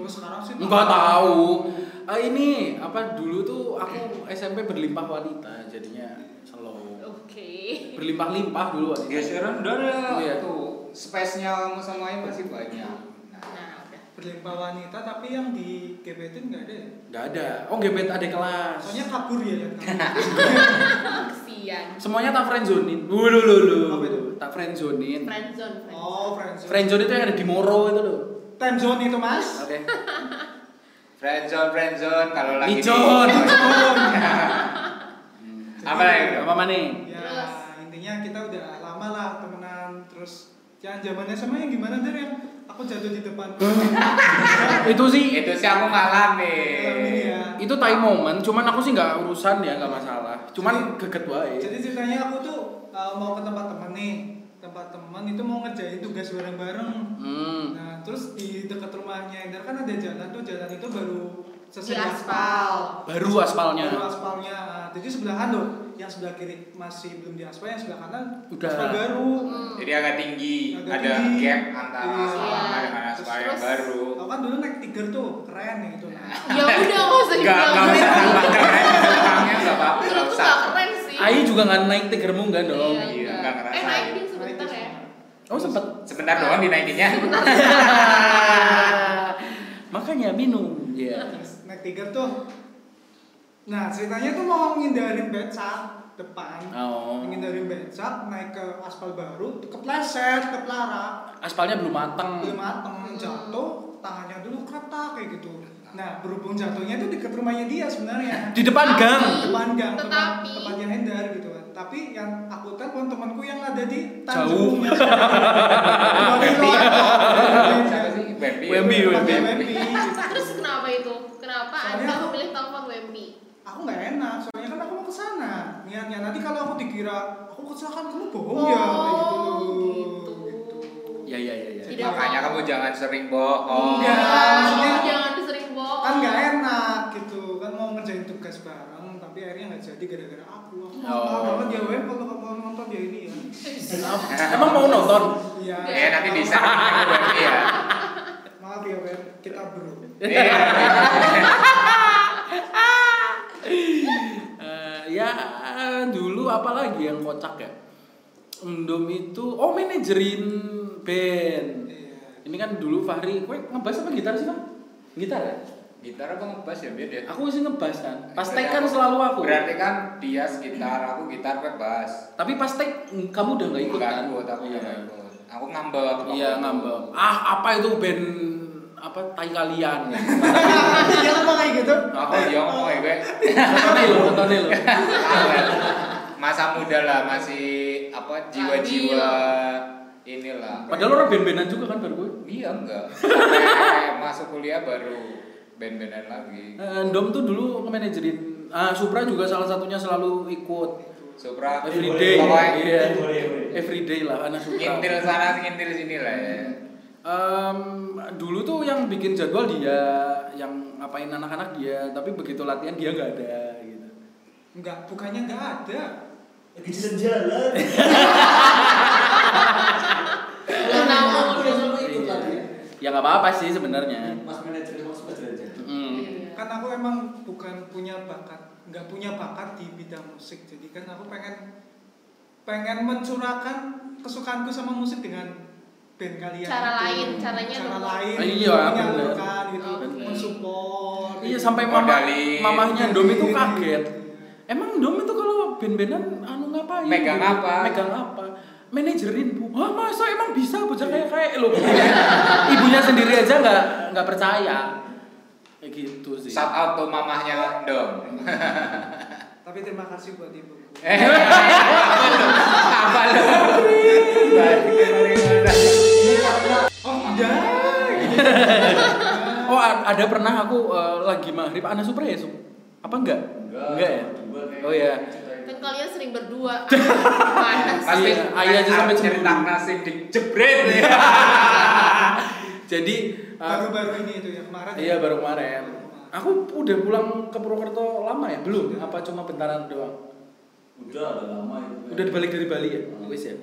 Speaker 2: Oh, sekarang sih
Speaker 5: Enggak tahu. Eh, ini apa dulu tuh aku SMP berlimpah wanita jadinya slow.
Speaker 3: Oke.
Speaker 5: Berlimpah-limpah dulu wanita.
Speaker 1: Geseran udah ada.
Speaker 5: Iya.
Speaker 1: Tuh, space-nya kamu sama Ayu masih banyak. Nah,
Speaker 3: Nah, udah.
Speaker 2: Berlimpah wanita tapi yang di gebetin nggak ada. ya?
Speaker 5: Enggak ada. Oh gebet ada kelas.
Speaker 2: Soalnya kabur ya. ya, kabur.
Speaker 3: Nah, Kasian.
Speaker 5: Semuanya tak friendzonin. Dulu dulu.
Speaker 2: Apa itu?
Speaker 5: Tak friendzonin.
Speaker 3: Friendzone, friendzone.
Speaker 2: oh friendzone.
Speaker 5: Friendzone itu yang ada di Moro itu loh.
Speaker 2: Time zone itu mas.
Speaker 5: Oke.
Speaker 1: friendzone, friendzone kalau lagi. di-
Speaker 5: Micon.
Speaker 2: Oh, iya.
Speaker 1: Apa lagi?
Speaker 5: Apa mana?
Speaker 2: ya
Speaker 3: Terus?
Speaker 2: intinya kita udah lama lah temenan terus ya, jangan zamannya sama yang gimana dari yang aku jatuh di depan.
Speaker 5: Hmm. Itu sih
Speaker 1: Itu sih aku
Speaker 2: Ini
Speaker 1: ngalamin.
Speaker 2: ya.
Speaker 5: itu tai momen, cuman aku sih nggak urusan ya, nggak masalah. Cuman geget wae.
Speaker 2: Jadi ceritanya aku tuh uh, mau ke tempat temen nih, tempat temen itu mau ngerjain tugas bareng-bareng.
Speaker 5: Hmm.
Speaker 2: Nah, terus di dekat rumahnya Ender kan ada jalan tuh, jalan itu baru
Speaker 3: Di
Speaker 2: selesai
Speaker 3: aspal.
Speaker 5: Baru aspalnya.
Speaker 2: Baru aspalnya. Nah, Jadi sebelahan loh, yang sebelah kiri masih belum di aspal, yang sebelah kanan
Speaker 5: Udah.
Speaker 2: aspal baru.
Speaker 3: Hmm.
Speaker 1: Jadi agak tinggi,
Speaker 2: Agak
Speaker 1: ada
Speaker 2: tinggi.
Speaker 1: gap antara
Speaker 2: Iya.
Speaker 1: sama dengan aspal yang
Speaker 3: Terus-
Speaker 1: baru.
Speaker 2: Aku kan dulu naik tiger tuh, keren ya itu. Nah,
Speaker 3: Ya udah nggak usah
Speaker 1: Enggak,
Speaker 3: dibilang.
Speaker 1: enggak usah tambah keren. Belakangnya enggak apa-apa,
Speaker 3: Menurutku
Speaker 1: enggak usah.
Speaker 3: nggak keren sih.
Speaker 5: Ai juga nggak naik tigermu nggak dong?
Speaker 1: Iya,
Speaker 3: Iya,
Speaker 1: nggak
Speaker 3: enggak.
Speaker 1: ngerasa.
Speaker 3: Eh, naik ding
Speaker 2: naik
Speaker 3: sebentar
Speaker 2: tuh
Speaker 3: ya.
Speaker 2: sama.
Speaker 5: Oh sempet.
Speaker 1: Sebentar doang dinaikinnya.
Speaker 5: Makanya minum. Iya.
Speaker 2: Naik tiger tuh. Nah, ceritanya tuh mau ngindarin becak depan.
Speaker 5: Oh.
Speaker 2: Ngindarin becak, naik ke aspal baru, kepleset, ketelarak.
Speaker 5: Aspalnya belum matang.
Speaker 2: belum
Speaker 3: Hmm.
Speaker 2: mateng jatuh tangannya dulu kereta kayak gitu nah berhubung jatuhnya itu deket rumahnya dia sebenarnya
Speaker 5: Di depan gang.
Speaker 2: depan gang tempat-
Speaker 3: Tetapi-
Speaker 2: tempatnya Hendar gitu kan tapi yang aku telepon temanku yang ada di
Speaker 5: Jauh.
Speaker 2: Tanjung
Speaker 1: Wemby.
Speaker 2: Wemby
Speaker 5: Wemby, Wemby.
Speaker 2: Wemby
Speaker 3: Terus kenapa itu? Kenapa
Speaker 2: Soalnya
Speaker 3: Anda
Speaker 2: aku-
Speaker 3: memilih telepon Wemby?
Speaker 2: aku nggak enak soalnya kan aku mau ke sana niatnya nanti kalau aku dikira aku kecelakaan kamu bohong
Speaker 3: Oh,
Speaker 2: ya kayak gitu loh
Speaker 3: gitu.
Speaker 5: Ya ya ya ya.
Speaker 3: Tidak
Speaker 1: Makanya
Speaker 3: mau.
Speaker 1: kamu jangan sering bohong.
Speaker 2: Enggak, maksudnya-
Speaker 3: Iya, jangan sering bohong.
Speaker 2: kan nggak enak gitu kan mau ngerjain tugas bareng tapi akhirnya nggak jadi gara-gara aku aku nggak
Speaker 5: Oh.
Speaker 2: tahu banget ya web kalau kamu nonton ya ini ya
Speaker 5: Emang mau nonton?
Speaker 2: Iya.
Speaker 1: Ya nanti di share berarti ya.
Speaker 2: Maaf ya Ben, kita bro.
Speaker 1: Iya.
Speaker 5: Eh, ya dulu apa lagi yang kocak ya? Endom itu oh manajerin band.
Speaker 2: Iya.
Speaker 5: Ini kan dulu Fahri, kowe ngebas apa gitar sih, Pak? Gitar ya?
Speaker 1: Gitar apa ngebas ya beda.
Speaker 5: Aku sih ngebas kan. Pas take kan selalu aku.
Speaker 1: Berarti kan dia gitar, aku gitar gue bass.
Speaker 5: Tapi pas take mm, kamu udah nggak ikut
Speaker 1: Nggak
Speaker 5: kan?
Speaker 1: ikut, aku
Speaker 5: Iya.
Speaker 1: nggak ikut. Aku ngambek.
Speaker 5: Iya ngambek. Ah apa itu band apa tai kalian?
Speaker 4: Iya apa kayak gitu?
Speaker 1: Aku iya ngomong ya, gue.
Speaker 5: Nontonnya lo, nontonnya lo.
Speaker 1: Masa muda lah masih apa jiwa-jiwa inilah.
Speaker 5: Padahal lo orang band-bandan juga kan baru gue.
Speaker 1: Iya enggak. Sampai masuk kuliah baru band-bandan lagi.
Speaker 5: Eh, Dom tuh dulu manajerin ah, Supra juga salah satunya selalu ikut
Speaker 1: Supra
Speaker 5: everyday
Speaker 1: Pokoknya
Speaker 5: iya
Speaker 4: Boleh, boleh.
Speaker 5: everyday lah anak Supra
Speaker 1: ngintil sana ngintil sini lah ya.
Speaker 5: Iya. Em, dulu tuh yang bikin jadwal dia yang ngapain anak-anak dia tapi begitu latihan dia nggak ada gitu
Speaker 2: Enggak, bukannya enggak ada.
Speaker 4: Lagi jalan-jalan.
Speaker 3: Kenapa?
Speaker 4: Aku yang selalu ikut lagi.
Speaker 5: ya nggak apa-apa sih sebenarnya
Speaker 4: Mas manajer emang suka jalan-jalan.
Speaker 1: Hmm.
Speaker 5: Mm.
Speaker 3: Iya.
Speaker 2: Kan aku emang bukan punya bakat, enggak punya bakat di bidang musik. Jadi kan aku pengen pengen mencurahkan kesukaanku sama musik dengan band kalian.
Speaker 3: Cara
Speaker 2: gitu.
Speaker 3: lain, caranya Oh,
Speaker 2: cara
Speaker 3: lu-
Speaker 2: lain.
Speaker 5: Iya, bener.
Speaker 2: menyalurkan gitu,
Speaker 3: Oke.
Speaker 2: mensupport.
Speaker 5: iya
Speaker 2: gitu.
Speaker 5: sampai mama
Speaker 1: Modalin.
Speaker 5: mamahnya Dom itu
Speaker 2: Iya.
Speaker 5: kaget emang Dom itu kalau ben-benan anu ngapain
Speaker 1: Megang
Speaker 5: Gitu.
Speaker 1: apa?
Speaker 5: megang apa manajerin bu ah masa emang bisa
Speaker 1: Iya.
Speaker 5: bocah kayak kayak lo ibunya sendiri aja nggak nggak percaya kayak gitu sih
Speaker 1: Shout out tuh mamahnya
Speaker 5: Iya.
Speaker 1: dong.
Speaker 2: Tapi terima kasih buat ibu.
Speaker 1: Eh, apa lu? Balik ke mana-mana.
Speaker 5: Iya.
Speaker 2: Oh, enggak. Gitu.
Speaker 5: oh a- ada pernah aku eh, lagi maghrib anak supra ya Sup? apa enggak ya oh ya
Speaker 4: gitu,
Speaker 1: gitu.
Speaker 3: Kan kalian sering berdua. Panas.
Speaker 1: Pasti
Speaker 5: Iya, ayah aja sampai cemburu. Iya.
Speaker 1: cerita nasib dijebret ya.
Speaker 5: jadi eh,
Speaker 2: Baru-baru ini itu ya kemarin.
Speaker 5: Iya baru kemarin. Aku udah pulang ke Purwokerto lama ya? Belum? Apa cuma bentaran doang?
Speaker 4: Udah, udah lama itu.
Speaker 5: Udah dibalik dari Bali ya? Wis ya.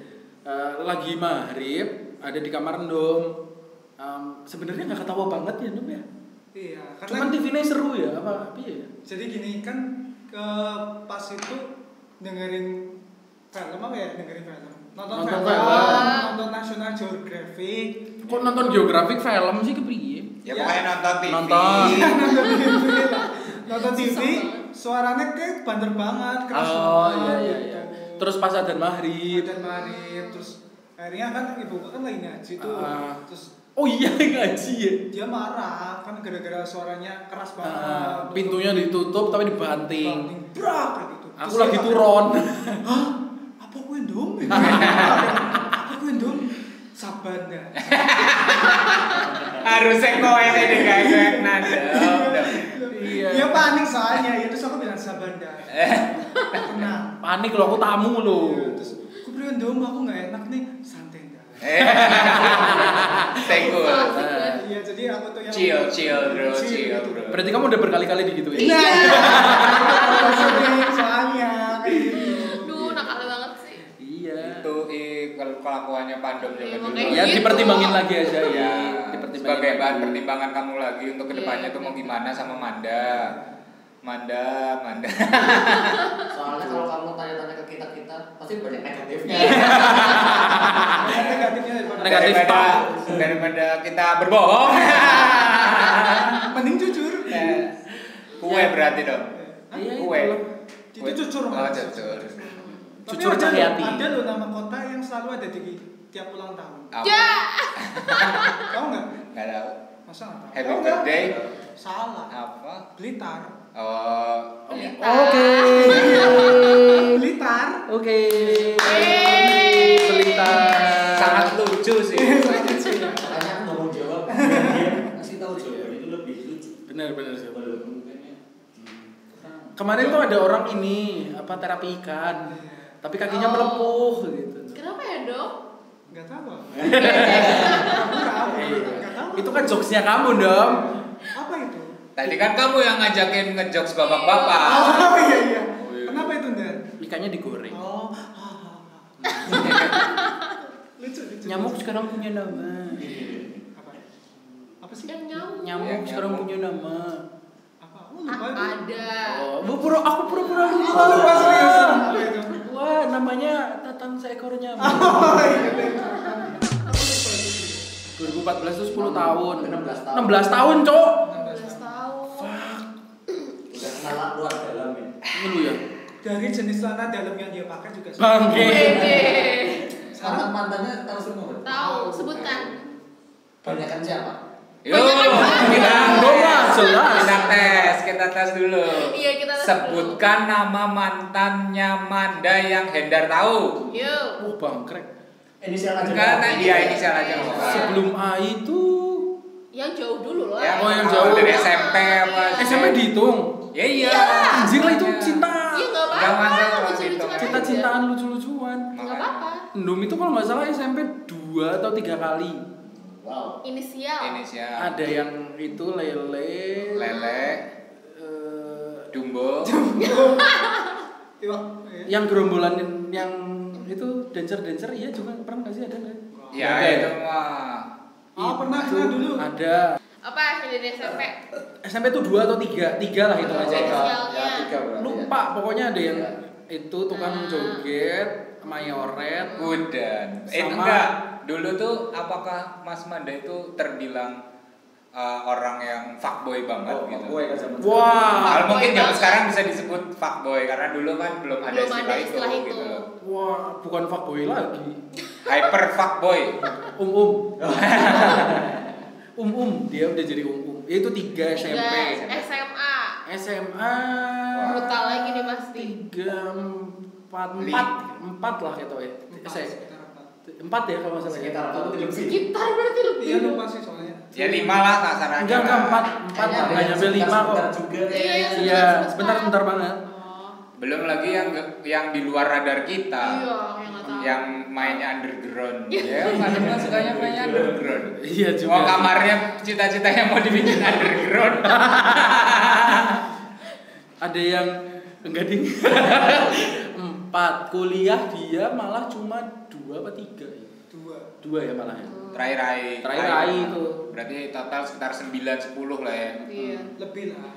Speaker 5: Eh, lagi maghrib, ada di kamar Ndom. Em, Sebenarnya nggak ketawa banget ya Ndom ya.
Speaker 2: Iya, karena
Speaker 5: Cuman TV-nya seru ya? Apa? Iya.
Speaker 2: jadi gini kan ke pas itu dengerin film apa ya dengerin film nonton,
Speaker 5: Nonton
Speaker 2: film,
Speaker 5: film.
Speaker 2: nonton National Geographic
Speaker 5: Kok nonton geografik film sih kepriye?
Speaker 1: Ya pokoknya nonton TV.
Speaker 5: Nonton.
Speaker 2: nonton TV lah. nonton TV
Speaker 3: Susah banget.
Speaker 2: suaranya kayak bander banget keras
Speaker 5: Oh
Speaker 2: banget
Speaker 5: iya iya iya.
Speaker 2: gitu.
Speaker 5: Terus pas adzan maghrib.
Speaker 2: dan marif terus akhirnya kan ibu kan lagi ngaji tuh
Speaker 5: Ah.
Speaker 2: terus
Speaker 5: Oh iya ngaji ya.
Speaker 2: dia marah kan gara-gara suaranya keras banget
Speaker 5: Ah, pintunya ditutup tapi dibanting.
Speaker 2: Banting, brak gitu
Speaker 5: Aku
Speaker 2: Terus
Speaker 5: lagi
Speaker 2: dia-
Speaker 5: turun.
Speaker 2: Hah? Apa kue dong? Apa kue dong? Sabanda.
Speaker 1: Harusnya kowe sih digagak nada.
Speaker 5: Iya.
Speaker 2: Dia panik soalnya, ya terus aku bilang Sabanda.
Speaker 1: Eh.
Speaker 2: Tenang.
Speaker 5: Panik loh aku tamu loh.
Speaker 2: Iya, Terus aku beri dong, aku nggak enak nih, santai dah.
Speaker 1: Eh. Stay cool.
Speaker 5: Nah.
Speaker 2: Iya, jadi aku tuh yang
Speaker 1: Oh, eh. Chill, chill bro, chill
Speaker 2: gitu.
Speaker 1: bro.
Speaker 5: Berarti kamu udah berkali-kali digituin.
Speaker 2: Iya. Aku sedih soalnya kayak gitu.
Speaker 3: Duh, nakal banget sih.
Speaker 5: Iya.
Speaker 1: itu eh, kel- kelakuannya pandem
Speaker 3: Iya,
Speaker 1: juga dulu.
Speaker 3: makanya.
Speaker 5: Ya
Speaker 3: Gitu.
Speaker 5: dipertimbangin lagi aja ya.
Speaker 1: Ya,
Speaker 5: Dipertimbangin
Speaker 1: Nah, sebagai bahan
Speaker 5: lagi.
Speaker 1: pertimbangan kamu lagi untuk kedepannya
Speaker 3: Iya,
Speaker 1: tuh mau
Speaker 3: bener.
Speaker 1: gimana sama Manda. Manda, Manda.
Speaker 4: Soalnya kalau kamu tanya-tanya ke kita kita pasti banyak
Speaker 1: Iya.
Speaker 4: negatifnya.
Speaker 3: Iya.
Speaker 2: Ada Negatifnya daripada
Speaker 5: Negatif,
Speaker 1: daripada,
Speaker 5: Pak.
Speaker 1: daripada kita berbohong.
Speaker 2: mending jujur. Eh,
Speaker 1: Eh, Kue berarti dong.
Speaker 2: Hah?
Speaker 5: Iya,
Speaker 1: Kue.
Speaker 5: itulah.
Speaker 2: Itu cucur,
Speaker 1: Oh,
Speaker 2: Mas.
Speaker 1: cucur.
Speaker 2: Tapi
Speaker 5: Jujur
Speaker 2: ada,
Speaker 5: cari hati.
Speaker 2: ada loh nama kota yang selalu ada di tiap ulang tahun.
Speaker 1: Apa?
Speaker 3: Ya.
Speaker 2: Tahu nggak?
Speaker 1: Nggak tahu.
Speaker 2: Masa nggak tahu?
Speaker 1: Happy
Speaker 2: Tahu nggak?
Speaker 1: birthday.
Speaker 2: Salah.
Speaker 1: Apa?
Speaker 2: Blitar.
Speaker 1: Oh,
Speaker 3: Iya.
Speaker 5: Oke.
Speaker 2: Blitar.
Speaker 5: Oke.
Speaker 3: Yeay.
Speaker 5: Selitan.
Speaker 1: sangat lucu sih.
Speaker 4: Makanya aku nggak mau jawab. Kasih tahu jawab itu lebih lucu.
Speaker 5: Benar benar sih.
Speaker 4: Kalau kamu kayaknya, hmm,
Speaker 5: Kemarin tuh ada orang ini apa terapi ikan. Tapi kakinya
Speaker 3: Oh.
Speaker 5: melepuh gitu.
Speaker 3: Kenapa ya, Dok?
Speaker 2: Nggak tahu. apa. Nggak tahu. Nggak tahu.
Speaker 5: Itu kan jokesnya kamu dong.
Speaker 2: Apa itu?
Speaker 1: Tadi kan kamu yang ngajakin ngejokes bapak-bapak.
Speaker 2: Oh iya iya.
Speaker 1: Oh, iya.
Speaker 2: Kenapa itu Ndan?
Speaker 5: Ikannya digoreng.
Speaker 2: Oh. ah, ah, ah. lucu lucu
Speaker 5: Nyamuk sekarang punya nama.
Speaker 2: apa apa sih
Speaker 3: yang nyamuk
Speaker 5: Nyamuk
Speaker 1: Iya,
Speaker 5: sekarang
Speaker 1: nyamuk.
Speaker 5: punya nama.
Speaker 2: apa oh
Speaker 3: A-
Speaker 2: lupa itu
Speaker 3: Ah, ada
Speaker 5: Oh, bu- pura aku pura-pura lupa.
Speaker 2: Oh, lupa
Speaker 5: iya,
Speaker 2: serius apa itu
Speaker 5: Wah, namanya Tatang Seekor Nyamuk.
Speaker 2: oh iya deh.
Speaker 1: Oh.
Speaker 2: Aku lupa itu.
Speaker 5: 2014 itu 10 tahun.
Speaker 4: 16 tahun.
Speaker 5: 16 tahun, Cok.
Speaker 3: 16 tahun
Speaker 4: Udah salah luar dalam ya.
Speaker 5: Ini lu ya.
Speaker 2: dari jenis celana dalam yang dia pakai juga sama.
Speaker 5: Bangke.
Speaker 3: Wede.
Speaker 4: Mantan mantannya tahu semua. kan?
Speaker 3: tahu sebutkan
Speaker 4: Banyakan siapa?
Speaker 1: Yuk,
Speaker 3: Banyak banget.
Speaker 1: kita
Speaker 5: Dong lah, jelas.
Speaker 1: Kita tes, kita tes dulu.
Speaker 3: Iya, kita tes
Speaker 1: Sebutkan nama mantannya Manda yang Hendar tahu.
Speaker 3: yuk
Speaker 5: Oh, bangkrek.
Speaker 4: Inisial aja.
Speaker 1: Enggak,
Speaker 4: Bang.
Speaker 1: nah,
Speaker 5: ya,
Speaker 1: iya ini salah aja. Pak.
Speaker 5: Sebelum A itu
Speaker 3: yang jauh dulu lah
Speaker 1: Ya,
Speaker 5: Oh, yang
Speaker 1: kalau
Speaker 5: jauh.
Speaker 1: dari SMP apa?
Speaker 3: Iya.
Speaker 5: SMP dihitung.
Speaker 1: Ya iya.
Speaker 5: Anjir lah itu cinta.
Speaker 3: Iya nggak
Speaker 1: Nggak Gitu kan.
Speaker 3: apa-apa,
Speaker 1: masalah,
Speaker 3: lucu-lucuan aja.
Speaker 5: Cinta-cintaan lucu-lucuan.
Speaker 3: Nggak apa-apa.
Speaker 5: Endom itu kalau nggak salah SMP 2 atau 3 kali.
Speaker 4: Wow.
Speaker 3: Inisial.
Speaker 1: Inisial.
Speaker 5: Ada ya. yang itu lele.
Speaker 1: Lele,
Speaker 5: eh,
Speaker 1: Dumbo,
Speaker 2: Iwak, iya.
Speaker 5: yang gerombolan yang itu dancer dancer iya juga pernah nggak sih ada nggak?
Speaker 1: ya
Speaker 5: Ada ya?
Speaker 1: itu mah.
Speaker 2: Oh, pernah,
Speaker 5: Itu
Speaker 2: pernah dulu.
Speaker 5: Ada
Speaker 3: Apa dari SMP?
Speaker 5: SMP tuh dua atau tiga tiga lah itu aja.
Speaker 3: Inisialnya.
Speaker 4: Ya, tiga berarti ya.
Speaker 5: Lupa pokoknya ada yang
Speaker 4: Iya.
Speaker 5: itu tukang
Speaker 3: Ah.
Speaker 5: joget, mayoret.
Speaker 4: Oh.
Speaker 1: Udan. Eh
Speaker 5: Sama-
Speaker 1: enggak, dulu tuh apakah Mas Manda itu terbilang eh, orang yang fuckboy banget
Speaker 4: Oh,
Speaker 1: gitu?
Speaker 4: gue kan zaman.
Speaker 5: Wah,
Speaker 1: Kalau mungkin
Speaker 3: Fuckboy
Speaker 1: zaman
Speaker 3: banget.
Speaker 1: sekarang bisa disebut fuckboy karena dulu kan belum ada
Speaker 3: Belum
Speaker 1: istilah,
Speaker 3: ada istilah
Speaker 1: itu,
Speaker 3: itu.
Speaker 1: gitu.
Speaker 5: wah bukan fuckboy lagi.
Speaker 1: Hyper fuckboy.
Speaker 5: Um um. um um dia udah jadi um um. Ya itu tiga SMP.
Speaker 3: Tiga, SMA.
Speaker 5: SMA.
Speaker 3: Brutal lagi nih pasti.
Speaker 5: Tiga empat
Speaker 1: Li.
Speaker 5: empat empat lah gitu ya.
Speaker 2: Iya,
Speaker 5: Saya-
Speaker 2: Sekitar apa?
Speaker 5: empat ya kalau nggak salah ya.
Speaker 4: Sekitar apa tuh lebih?
Speaker 3: Sekitar berarti lebih.
Speaker 2: iya lupa sih soalnya
Speaker 1: Ya
Speaker 5: Iya,
Speaker 1: lima lah kasarannya.
Speaker 5: Enggak enggak empat empat
Speaker 4: Kayaknya
Speaker 5: lah.
Speaker 4: ada
Speaker 5: Nggak
Speaker 4: yang
Speaker 5: nyampe lima kok.
Speaker 4: Iya, sebentar juga
Speaker 3: Iya, sebentar,
Speaker 4: kayaknya.
Speaker 5: Iya
Speaker 3: sebentar.
Speaker 5: sebentar sebentar banget.
Speaker 3: Oh.
Speaker 1: Belum lagi yang yang di luar radar kita.
Speaker 3: Iya, yang nggak tahu.
Speaker 1: Yang mainnya underground. ya, Mas Manda sukanya mainnya underground.
Speaker 5: Iya juga.
Speaker 4: Oh,
Speaker 1: Mau kamarnya cita-citanya mau dibikin underground.
Speaker 5: Ada yang enggak ding. empat kuliah dia malah cuma dua apa tiga ya?
Speaker 2: dua
Speaker 5: Dua ya malah
Speaker 3: Iya.
Speaker 5: ya.
Speaker 1: Terakhir Rai.
Speaker 5: Terakhir Rai itu.
Speaker 1: Berarti total sekitar 9 10 lah ya.
Speaker 3: Iya.
Speaker 2: lebih lah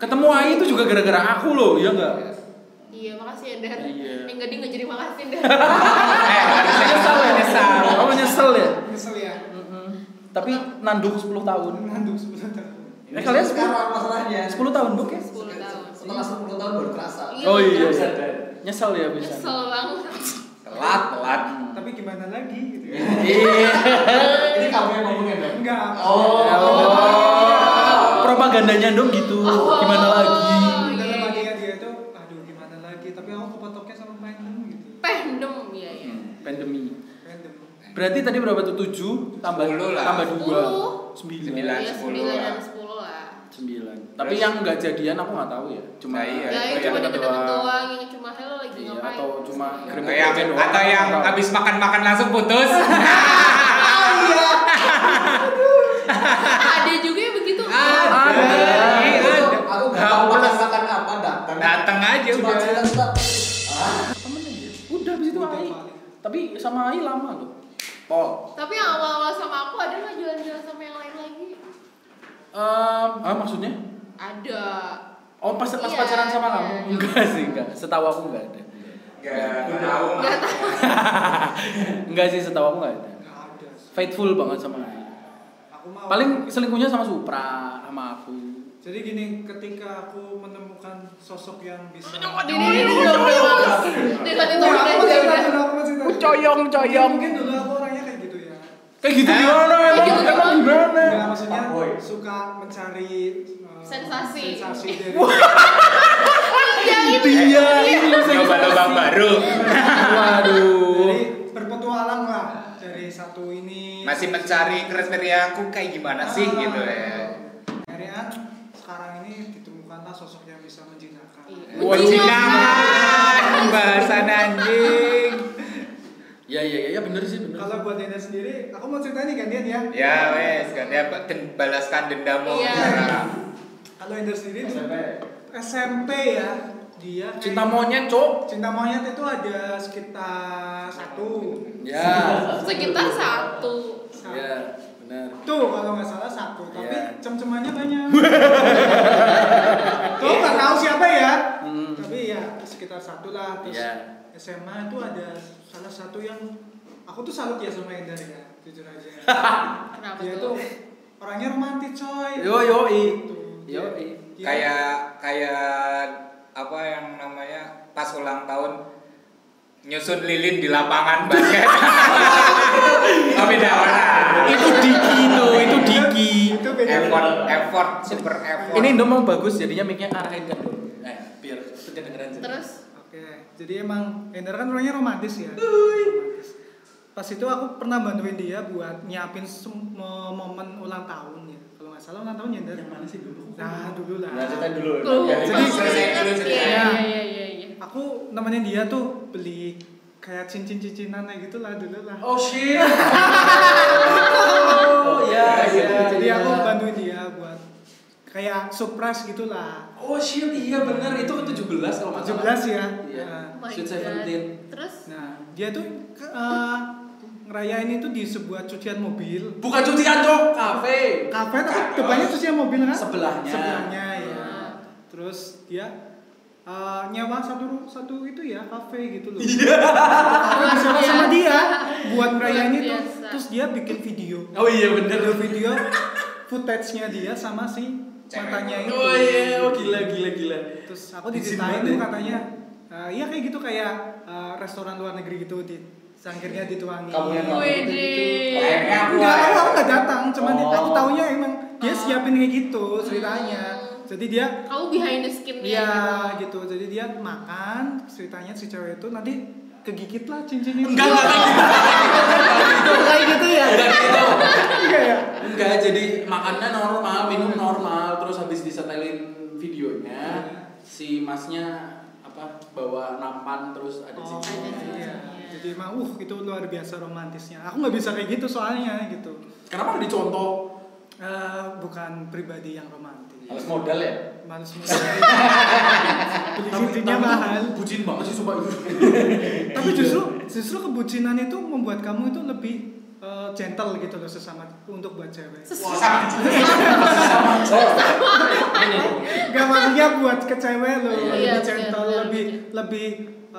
Speaker 5: Ketemu Ai itu juga gara-gara aku loh, iya enggak?
Speaker 3: Iya, makasih ya, Dar.
Speaker 5: Iya.
Speaker 3: Yang gede nggak jadi makasih, Dar.
Speaker 1: eh, harusnya
Speaker 5: Nyesel ya?
Speaker 1: nyesal.
Speaker 5: Kamu nyesel ya?
Speaker 2: nyesel ya
Speaker 5: Tapi nanduk 10 tahun.
Speaker 2: nanduk sebenarnya
Speaker 5: Eh kalian
Speaker 4: sekarang
Speaker 5: 10,
Speaker 4: masalahnya.
Speaker 5: 10 tahun dok ya?
Speaker 3: 10 tahun.
Speaker 4: Setelah 10 tahun baru kerasa.
Speaker 3: Iya,
Speaker 5: Oh iya.
Speaker 4: Bisa,
Speaker 5: iya.
Speaker 4: Dan.
Speaker 5: Nyesel ya bisa.
Speaker 3: Kesel banget.
Speaker 1: Telat, telat.
Speaker 2: tapi gimana lagi gitu ya
Speaker 5: Iya.
Speaker 4: Ini kamu yang ngomongin dong.
Speaker 2: enggak
Speaker 4: Oh.
Speaker 5: Oh. Propagandanya dong gitu. Gimana lagi?
Speaker 3: Oh, iya, iya.
Speaker 2: dalam hatinya dia tuh aduh gimana lagi tapi aku kepotoknya sama random gitu
Speaker 3: Pandem, iya iya.
Speaker 1: Hmm,
Speaker 5: Pandemi.
Speaker 2: random
Speaker 5: Berarti tadi berapa tuh? 7 tambah
Speaker 1: 10 lah.
Speaker 5: tambah
Speaker 3: Iya,
Speaker 1: 9. 10
Speaker 5: 2. 9.
Speaker 3: 9 dan 10
Speaker 1: lah.
Speaker 3: lah.
Speaker 5: 9. Tapi yang nggak jadian aku nggak tahu ya. Cuma
Speaker 1: Nah, iya.
Speaker 3: Ya, yang
Speaker 1: itu
Speaker 3: cuma
Speaker 1: yang
Speaker 3: deket-deket doang, yang cuma hello lagi
Speaker 5: Iya,
Speaker 3: ngapain.
Speaker 5: atau cuma kirim
Speaker 1: Atau yang,
Speaker 5: doang.
Speaker 1: atau yang habis makan-makan langsung putus.
Speaker 3: gitu. ada juga yang begitu.
Speaker 1: Ah.
Speaker 5: Ada.
Speaker 1: Ada.
Speaker 4: Aku nggak tahu makan makan apa datang.
Speaker 1: Dateng aja
Speaker 4: Cuma
Speaker 1: udah.
Speaker 4: cerita tetap. Ah,
Speaker 5: Temennya ya? Udah habis itu
Speaker 2: Udah,
Speaker 5: AI.
Speaker 2: Pak.
Speaker 5: Tapi sama AI lama loh. Pol.
Speaker 3: Tapi yang awal-awal sama aku ada nggak jalan-jalan sama yang lain lagi?
Speaker 5: Ehm, ah maksudnya?
Speaker 3: Ada.
Speaker 5: Oh pas pas
Speaker 3: Iya,
Speaker 5: pacaran sama
Speaker 3: iya.
Speaker 5: kamu? Enggak sih, enggak. Setahu aku enggak ada.
Speaker 1: Enggak tahu.
Speaker 5: Enggak sih, setahu aku enggak ada.
Speaker 2: enggak ada sih.
Speaker 5: Faithful banget sama AI.
Speaker 2: aku mau
Speaker 5: Paling selingkuhnya sama Supra, sama aku.
Speaker 2: jadi gini ketika aku menemukan sosok yang bisa
Speaker 3: Ini ini ini udah mulai males. Dari tadi tuh
Speaker 2: Enggak,
Speaker 3: udah udah udah.
Speaker 2: Iya, aku masih tahu, aku masih tahu.
Speaker 5: Coyong, coyong.
Speaker 2: mungkin dulu aku orangnya kayak gitu ya
Speaker 5: Kayak gitu
Speaker 1: Eh,
Speaker 5: gimana?
Speaker 3: kayak
Speaker 5: Emang
Speaker 3: gitu
Speaker 5: emang
Speaker 3: gimana?
Speaker 5: gimana?
Speaker 2: Enggak, maksudnya
Speaker 4: Fuckboy.
Speaker 2: suka mencari uh,
Speaker 3: Sensasi.
Speaker 2: sensasi dari
Speaker 5: Iya.
Speaker 3: Yang ini.
Speaker 5: Dia ini
Speaker 1: Coba-coba baru.
Speaker 5: Waduh.
Speaker 2: dari berpetualang lah dari satu ini
Speaker 1: Masih mencari kriteria aku kayak gimana sih
Speaker 2: Ah.
Speaker 1: gitu ya.
Speaker 2: akhirnya sekarang ini ditemukanlah sosok yang bisa menjinakkan
Speaker 3: Iya.
Speaker 1: Wajinakan bahasan anjing.
Speaker 5: Ya ya ya, ya bener sih bener.
Speaker 2: kalau buat Enda sendiri aku mau cerita nih gantian ya
Speaker 1: Ya wes, gantian apa? Den- balaskan dendamu.
Speaker 3: Iya.
Speaker 1: Nah,
Speaker 2: kalau Enda sendiri
Speaker 4: SMP.
Speaker 2: SMP ya dia
Speaker 5: Cinta monyet, Cok.
Speaker 2: cinta monyet itu ada sekitar satu
Speaker 1: Iya.
Speaker 5: Ya.
Speaker 3: Sekitar satu.
Speaker 2: Satu.
Speaker 5: Ya, benar.
Speaker 2: tuh kalau nggak salah satu tapi
Speaker 5: Iya.
Speaker 2: cem-cemannya banyak tuh nggak tahu siapa ya
Speaker 5: Hmm.
Speaker 2: tapi ya sekitar satu lah terus
Speaker 5: Iya.
Speaker 2: SMA itu ada salah satu yang aku tuh salut ya sama Endar ya jujur aja
Speaker 3: Kenapa
Speaker 2: dia
Speaker 3: tuh?
Speaker 2: tuh orangnya romantis coy Gitu.
Speaker 5: Yo yo i.
Speaker 2: Tuh,
Speaker 5: Yo
Speaker 2: dia-
Speaker 5: i.
Speaker 2: dia-
Speaker 1: kayak kayak apa yang namanya pas ulang tahun nyusun lilin di lapangan basket oh beda orang
Speaker 5: Itu Diki itu, itu Diki.
Speaker 2: itu beda
Speaker 1: effort effort super effort
Speaker 5: Ini Indo mau bagus jadinya mic-nya arahin ke Indo. Eh, biar kedengeran sih.
Speaker 3: Terus
Speaker 2: Oke, jadi emang Ender kan orangnya romantis ya. Romantis. Pas itu aku pernah bantuin dia buat nyiapin sem- mo- momen ulang tahun ya. Kalau nggak salah ulang tahun ya Ender.
Speaker 5: Yang mana sih dulu?
Speaker 2: Nah dulu lah.
Speaker 5: Lanjutan dulu.
Speaker 3: tuh.
Speaker 5: Ya,
Speaker 1: jadi
Speaker 3: kamu
Speaker 1: selesai
Speaker 3: ingat
Speaker 1: dulu
Speaker 3: ya?
Speaker 1: ceritanya.
Speaker 3: Iya iya iya iya.
Speaker 2: Aku nemenin dia tuh beli kayak cincin-cincinan kayak gitu lah dulu lah.
Speaker 5: Oh shit. Oh ya ya.
Speaker 2: jadi
Speaker 5: ya.
Speaker 2: aku bantuin dia buat kayak surprise gitulah.
Speaker 5: Oh shit, iya benar itu ke 17 kalau nggak salah.
Speaker 2: 17 ya.
Speaker 5: Iya.
Speaker 2: Nah,
Speaker 3: Oh my
Speaker 5: Sweet
Speaker 3: God.
Speaker 5: Seventeen.
Speaker 3: Terus
Speaker 2: Nah, dia tuh ke- eh, ngerayain itu di sebuah cucian mobil.
Speaker 5: Bukan cuci cok, kafe.
Speaker 2: kafe tapi depannya cucian mobil kan
Speaker 5: Sebelahnya.
Speaker 2: sebelahnya ya
Speaker 3: Ah.
Speaker 2: terus dia eh, nyewa satu satu itu ya kafe gitu loh Aku
Speaker 3: Luar
Speaker 2: bersama sama
Speaker 3: biasa.
Speaker 2: dia buat ngerayain
Speaker 3: Luar
Speaker 2: itu
Speaker 3: biasa.
Speaker 2: terus dia bikin video
Speaker 5: Oh iya benar.
Speaker 2: video footage-nya dia sama si
Speaker 1: Cewek.
Speaker 2: mantannya itu
Speaker 5: Oh iya, oh gila gila gila.
Speaker 2: terus aku
Speaker 5: Izin
Speaker 2: diceritain
Speaker 5: banget
Speaker 2: tuh
Speaker 5: ya.
Speaker 2: katanya eh, iya kayak gitu kayak eh, restoran luar negeri gitu di sangkirnya dituangin
Speaker 4: Kamu yang gitu.
Speaker 3: Wede.
Speaker 2: Gitu-gitu.
Speaker 1: Akhirnya aku
Speaker 2: Enggak, aku aku nggak datang, cuman
Speaker 5: Oh.
Speaker 2: aku taunya emang dia
Speaker 3: Oh.
Speaker 2: siapin kayak gitu ceritanya.
Speaker 3: Hmm.
Speaker 2: Jadi dia
Speaker 3: kamu behind the skin
Speaker 2: Iya gitu, jadi dia makan ceritanya si cewek itu nanti kegigit lah cincinnya.
Speaker 5: Enggak enggak enggak.
Speaker 2: kayak gitu ya.
Speaker 5: Enggak gitu.
Speaker 2: Enggak ya.
Speaker 5: Enggak, jadi makannya normal, minum normal, terus habis disetelin videonya si masnya apa bawa nampan terus ada
Speaker 2: Oh,
Speaker 5: cincinnya.
Speaker 2: iya. Jadi emang uh itu luar biasa romantisnya. Aku nggak bisa kayak gitu soalnya gitu.
Speaker 5: Kenapa nggak dicontoh?
Speaker 2: Eh, bukan pribadi yang romantis.
Speaker 4: Harus modal ya?
Speaker 2: Males mulu. Beli cincinnya
Speaker 5: tuh
Speaker 2: mahal.
Speaker 5: Bucin banget sih sumpah itu.
Speaker 2: tapi
Speaker 5: Iya.
Speaker 2: justru justru kebucinan itu membuat kamu itu lebih eh, gentle gitu loh sesama untuk buat cewek
Speaker 1: sama
Speaker 4: Iya.
Speaker 2: gak maksudnya buat ke cewek loh
Speaker 5: Iya,
Speaker 2: lebih
Speaker 3: iya,
Speaker 2: gentle
Speaker 3: benar, benar,
Speaker 2: lebih
Speaker 3: benar.
Speaker 2: lebih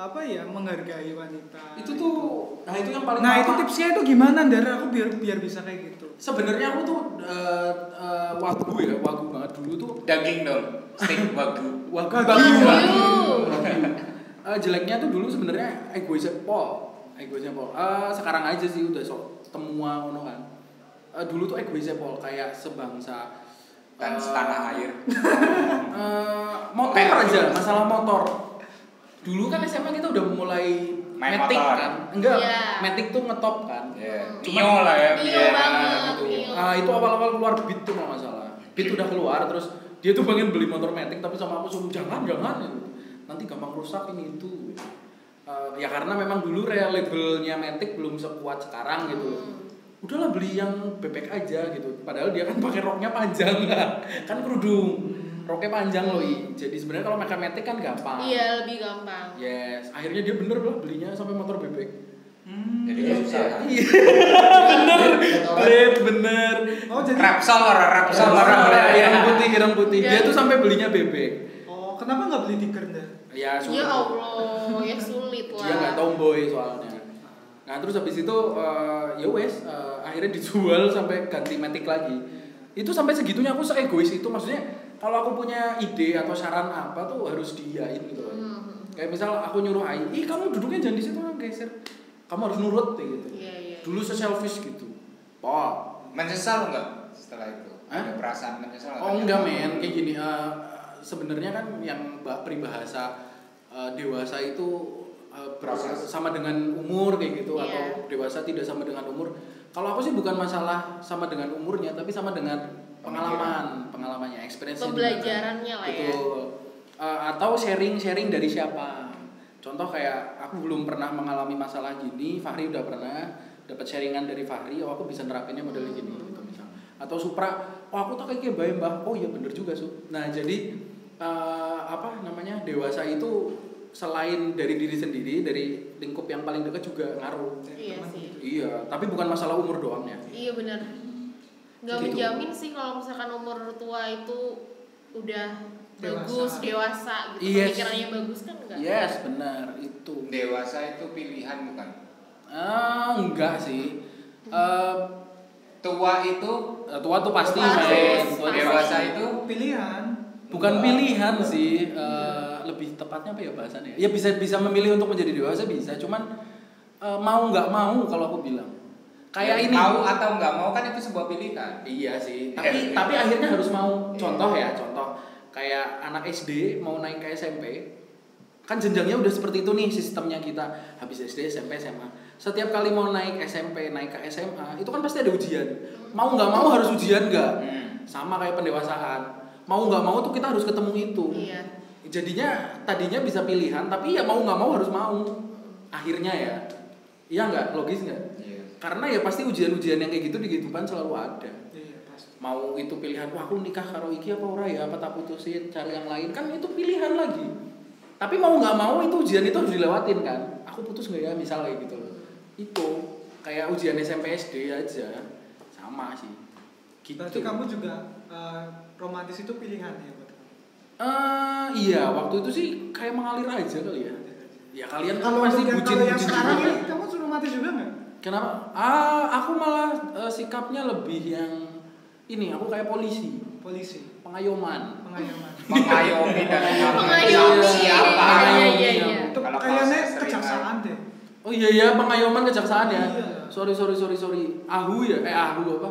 Speaker 2: apa ya menghargai wanita
Speaker 5: itu tuh nah itu yang paling
Speaker 2: nah itu
Speaker 5: lama.
Speaker 2: tipsnya itu gimana Ndara aku biar biar bisa kayak gitu
Speaker 5: Sebenarnya aku tuh eh, eh, wagu ya, wagu banget dulu tuh
Speaker 1: daging dong steak bagu
Speaker 5: Wagu
Speaker 2: Wagyu.
Speaker 5: banget.
Speaker 3: Wagyu.
Speaker 5: Eh, jeleknya tuh dulu sebenarnya egoisnya pol, egoisnya pol. Eh, sekarang aja sih udah sok temua ngono kan. Eh, dulu tuh egoisnya pol kayak sebangsa
Speaker 1: dan
Speaker 5: eh,
Speaker 1: setanah air
Speaker 5: eh, motor aja,
Speaker 1: gitu.
Speaker 5: masalah motor. Dulu kan SMA kita udah mulai
Speaker 1: Main
Speaker 5: metik
Speaker 1: motor.
Speaker 5: kan. Enggak,
Speaker 3: Iya.
Speaker 5: metik tuh ngetop kan.
Speaker 1: ya
Speaker 3: Cuman-
Speaker 1: Mio lah ya
Speaker 3: Mio
Speaker 1: Mio.
Speaker 3: Iya, banget.
Speaker 5: Gitu.
Speaker 3: Iya.
Speaker 5: Ah, itu awal-awal keluar beat tuh kalau nggak salah. Beat udah keluar terus dia tuh pengen beli motor metik tapi sama aku suruh jangan jangan gitu. nanti gampang rusak ini itu. Ah, ya karena memang dulu reliable-nya metik belum sekuat sekarang gitu. loh.
Speaker 3: Hmm.
Speaker 5: Udahlah beli yang bebek aja gitu. Padahal dia kan pakai roknya panjang kan kerudung. Roknya panjang loh. I. Jadi sebenarnya kalau pakai metik kan gampang.
Speaker 3: Iya lebih gampang.
Speaker 5: Yes, akhirnya dia bener lah belinya sampai motor bebek. Hmm.
Speaker 1: jadi
Speaker 4: Iya,
Speaker 1: susah
Speaker 5: bener,
Speaker 4: Motor kan?
Speaker 5: Blade, bener.
Speaker 2: oh jadi
Speaker 1: Rapsol orang Rapsol
Speaker 5: Sama
Speaker 1: orang
Speaker 5: orang
Speaker 1: orang-
Speaker 5: irang putih, irang putih.
Speaker 3: Iya.
Speaker 5: Dia tuh sampai belinya bebek.
Speaker 2: oh kenapa nggak beli tiker Ndara
Speaker 5: Ya,
Speaker 3: Ya
Speaker 5: sulit.
Speaker 3: Allah, ya sulit lah.
Speaker 5: Dia nggak tomboy soalnya. Nah, terus habis itu eh, ya wes eh, akhirnya dijual sampai ganti metik lagi. Itu sampai segitunya aku seegois itu maksudnya kalau aku punya ide atau saran apa tuh harus diain gitu loh.
Speaker 3: Hmm.
Speaker 5: Kayak misal aku nyuruh Ai, "Ih, kamu duduknya jangan di situ, kamu geser." Kamu harus nurut kayak gitu.
Speaker 3: Iya, iya.
Speaker 5: Dulu se-selfish gitu. Pak,
Speaker 1: Oh, menyesal nggak setelah itu
Speaker 5: Hah?
Speaker 1: ada perasaan menyesal nggak?
Speaker 5: Oh enggak men, kayak gini. eh, sebenarnya kan yang ba- peribahasa eh, dewasa itu eh, ber-
Speaker 1: Proses.
Speaker 5: sama dengan umur kayak gitu
Speaker 3: Iya.
Speaker 5: atau dewasa tidak sama dengan umur. Kalau aku sih bukan masalah sama dengan umurnya, tapi sama dengan pengalaman, pengalamannya, experience
Speaker 3: Pembelajarannya lah ya.
Speaker 5: Betul. Eh, atau sharing-sharing dari siapa. Contoh kayak aku belum pernah mengalami masalah gini, Fahri udah pernah dapat sharingan dari Fahri, oh aku bisa nerapinnya model
Speaker 3: Hmm.
Speaker 5: gini gitu misalnya atau Supra oh aku tuh kayak gini, bae mbah oh iya bener juga su nah jadi eh, apa namanya dewasa itu selain dari diri sendiri dari lingkup yang paling dekat juga ngaruh
Speaker 3: Iya sih.
Speaker 5: iya tapi bukan masalah umur doang ya
Speaker 3: Iya benar. Nggak
Speaker 5: Gitu.
Speaker 3: menjamin sih kalau misalkan umur tua itu udah
Speaker 2: Dewasa.
Speaker 3: bagus, dewasa gitu.
Speaker 5: Yes.
Speaker 3: Pemikirannya bagus kan enggak?
Speaker 5: yes benar itu
Speaker 1: Dewasa itu pilihan bukan?
Speaker 5: ah enggak sih Eh,
Speaker 1: Tua itu
Speaker 5: tua tuh pasti
Speaker 3: Harus,
Speaker 5: men.
Speaker 3: pasti.
Speaker 5: Tua tuh
Speaker 1: dewasa itu
Speaker 2: Pilihan.
Speaker 5: bukan pilihan sih eh, lebih tepatnya apa ya bahasannya ya bisa bisa memilih untuk menjadi dewasa bisa cuman eh, mau nggak mau kalau aku bilang kayak ini
Speaker 1: mau atau nggak mau kan itu sebuah pilihan.
Speaker 5: iya
Speaker 1: Eh.
Speaker 5: sih tapi tapi akhirnya harus mau
Speaker 1: Iya.
Speaker 5: contoh ya contoh kayak anak SD mau naik ke SMP kan jenjangnya udah seperti itu nih sistemnya kita habis SD SMP SMA setiap kali mau naik SMP naik ke SMA itu kan pasti ada ujian mau nggak mau harus ujian nggak
Speaker 1: Hmm.
Speaker 5: sama kayak pendewasaan mau nggak mau tuh kita harus ketemu itu
Speaker 3: Iya.
Speaker 5: jadinya tadinya bisa pilihan tapi ya mau nggak mau harus mau akhirnya ya iya nggak logis nggak
Speaker 1: Iya.
Speaker 5: karena ya pasti ujian-ujian yang kayak gitu di kehidupan selalu ada
Speaker 2: Iya, pasti.
Speaker 5: mau itu pilihan wah aku nikah karo iki apa ora ya apa tak putusin cari yang lain kan itu pilihan lagi tapi mau nggak mau itu ujian itu harus dilewatin kan aku putus nggak ya misalnya gitu loh itu kayak ujian SMP SD aja sama sih gitu
Speaker 2: Berarti kamu juga eh, romantis itu pilihan ya buat kamu.
Speaker 5: Eh, iya waktu itu sih kayak mengalir aja kali ya ya kalian kan pasti
Speaker 2: yang-
Speaker 5: bucin
Speaker 2: kalau yang
Speaker 5: bucin
Speaker 2: sekarang
Speaker 5: juga.
Speaker 2: ini kamu romantis juga nggak?
Speaker 5: kenapa ah aku malah eh, sikapnya lebih yang ini aku kayak polisi
Speaker 2: Polisi,
Speaker 5: pengayoman Iya.
Speaker 2: pengayoman.
Speaker 1: Mengayomi dan
Speaker 3: Mengayomi.
Speaker 1: Siapa?
Speaker 3: Oh, Iya, iya, iya.
Speaker 2: Itu
Speaker 1: Kalau
Speaker 2: kayaknya
Speaker 1: kasus seringan.
Speaker 2: kejaksaan deh.
Speaker 5: oh iya ya pengayoman kejaksaan ya
Speaker 2: Iya.
Speaker 5: sorry sorry sorry sorry ahu ya eh ahu apa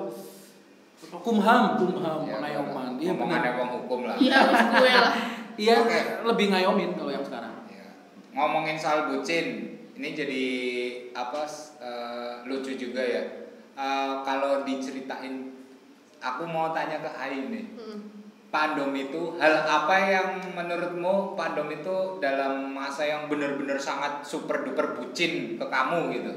Speaker 5: kumham kumham
Speaker 1: Ya,
Speaker 5: pengayoman iya benar
Speaker 1: Ngomongannya wong hukum lah.
Speaker 3: Iya, harus gue lah.
Speaker 5: iya
Speaker 1: Oke.
Speaker 5: lebih ngayomin kalau yang sekarang
Speaker 1: Ya. Ngomongin soal bucin, ini jadi apa s- eh, lucu juga ya. Eh, kalau diceritain, aku mau tanya ke Ain nih.
Speaker 3: Mm.
Speaker 1: Pandom itu hal apa yang menurutmu Pandom itu dalam masa yang benar-benar sangat super duper bucin ke kamu gitu?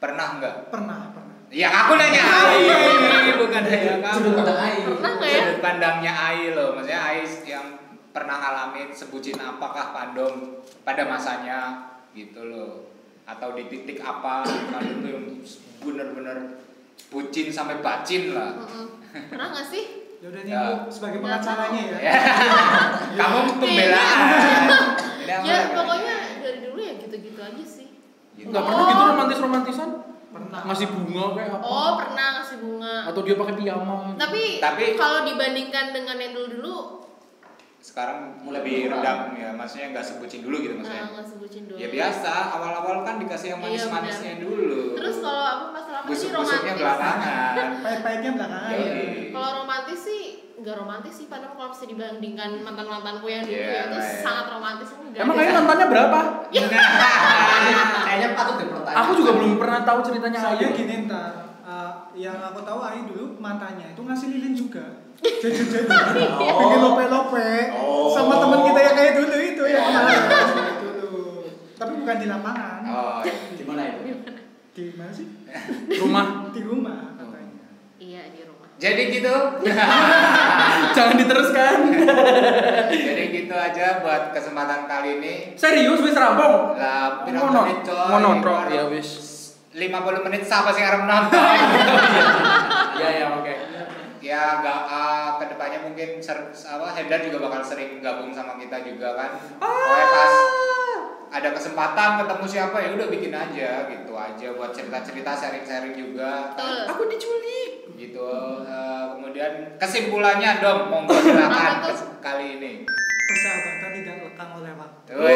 Speaker 1: Pernah nggak?
Speaker 2: Pernah, pernah.
Speaker 1: Ya aku nanya
Speaker 3: Iya,
Speaker 1: Ai, bukan nanya kamu.
Speaker 4: Sudut pandang Ai.
Speaker 3: Pernah nggak ya?
Speaker 1: Sudut pandangnya Ai loh, maksudnya Ai yang pernah ngalamin sebucin apakah Pandom pada masanya gitu loh. Atau di titik apa Pandom tuh yang bener-bener bucin sampai bacin lah.
Speaker 3: Mm-mm. Hmm. Pernah nggak sih?
Speaker 2: Ya udah nih, aku
Speaker 1: Ya.
Speaker 2: sebagai
Speaker 3: Ya.
Speaker 2: pengacaranya ya.
Speaker 1: Kamu pembelaan. Ini apa
Speaker 3: ya
Speaker 1: lagi?
Speaker 3: pokoknya dari dulu ya gitu-gitu aja sih.
Speaker 1: Gitu.
Speaker 5: nggak pernah gitu
Speaker 3: Oh.
Speaker 5: romantis romantisan
Speaker 2: Pernah.
Speaker 5: ngasih bunga kayak apa
Speaker 3: Oh pernah ngasih bunga.
Speaker 5: atau dia pakai piyama
Speaker 3: Tapi,
Speaker 1: Tapi-
Speaker 3: kalau dibandingkan dengan yang dulu-dulu,
Speaker 1: Sekarang
Speaker 4: Mulai
Speaker 1: lebih
Speaker 4: berkurang.
Speaker 1: rendam ya, maksudnya nggak sebucin dulu gitu
Speaker 3: nah,
Speaker 1: maksudnya.
Speaker 3: nggak sebutin dulu.
Speaker 1: Ya biasa, awal-awal kan dikasih yang
Speaker 3: Iya, benar.
Speaker 1: manis-manisnya dulu.
Speaker 3: Terus kalau apa masalah apa sih
Speaker 1: busuk-busuknya
Speaker 3: romantis?
Speaker 1: belakangan.
Speaker 2: Pahit-pahitnya belakangan.
Speaker 1: Yoi.
Speaker 3: Kalau romantis sih nggak romantis sih, padahal kalau bisa dibandingkan mantan mantanku yang dulu
Speaker 1: Iya,
Speaker 3: ya, itu
Speaker 1: lah ya.
Speaker 3: sangat romantis aku nggak.
Speaker 5: emang
Speaker 3: ada.
Speaker 5: kalian mantannya berapa
Speaker 3: Iya.
Speaker 4: Kayaknya patut dipertanyakan.
Speaker 5: aku juga belum pernah tahu ceritanya
Speaker 2: Soalnya
Speaker 5: Ayu.
Speaker 2: gini ntar, eh, yang aku tahu Ayu dulu mantannya itu ngasih lilin juga. Jadi-jadi.
Speaker 4: Oh.
Speaker 2: Bikin lope-lope
Speaker 1: Oh.
Speaker 2: sama teman kita yang kayak dulu itu yang kemarin. dulu. Tapi bukan di lapangan.
Speaker 1: Oh, iya.
Speaker 4: Di mana itu?
Speaker 2: Di mana sih?
Speaker 5: rumah
Speaker 2: Di rumah katanya.
Speaker 3: Iya di rumah.
Speaker 1: Jadi gitu.
Speaker 5: jangan diteruskan
Speaker 1: Jadi gitu aja buat kesempatan kali ini.
Speaker 5: serius wis rampung
Speaker 1: Lah, pira
Speaker 5: Mono-
Speaker 1: menit coy?
Speaker 5: monotrok,
Speaker 1: Pira-
Speaker 5: ya, wis.
Speaker 1: 50 menit siapa sih arep nonton?
Speaker 4: Iya,
Speaker 5: ya ya oke
Speaker 1: ya gak ah, kedepannya mungkin ser, apa Hendar juga bakal sering gabung sama kita juga kan.
Speaker 5: Ah.
Speaker 1: Pokoknya pas ada kesempatan ketemu siapa ya udah bikin aja gitu aja buat cerita-cerita sharing-sharing juga
Speaker 3: Betul.
Speaker 2: Ah,
Speaker 5: aku diculik
Speaker 1: gitu Eh, kemudian kesimpulannya dong monggo
Speaker 3: Apa
Speaker 1: silakan
Speaker 3: tuh?
Speaker 1: kes- kali ini
Speaker 2: Persahabatan tidak lekang oleh waktu.
Speaker 1: Wih.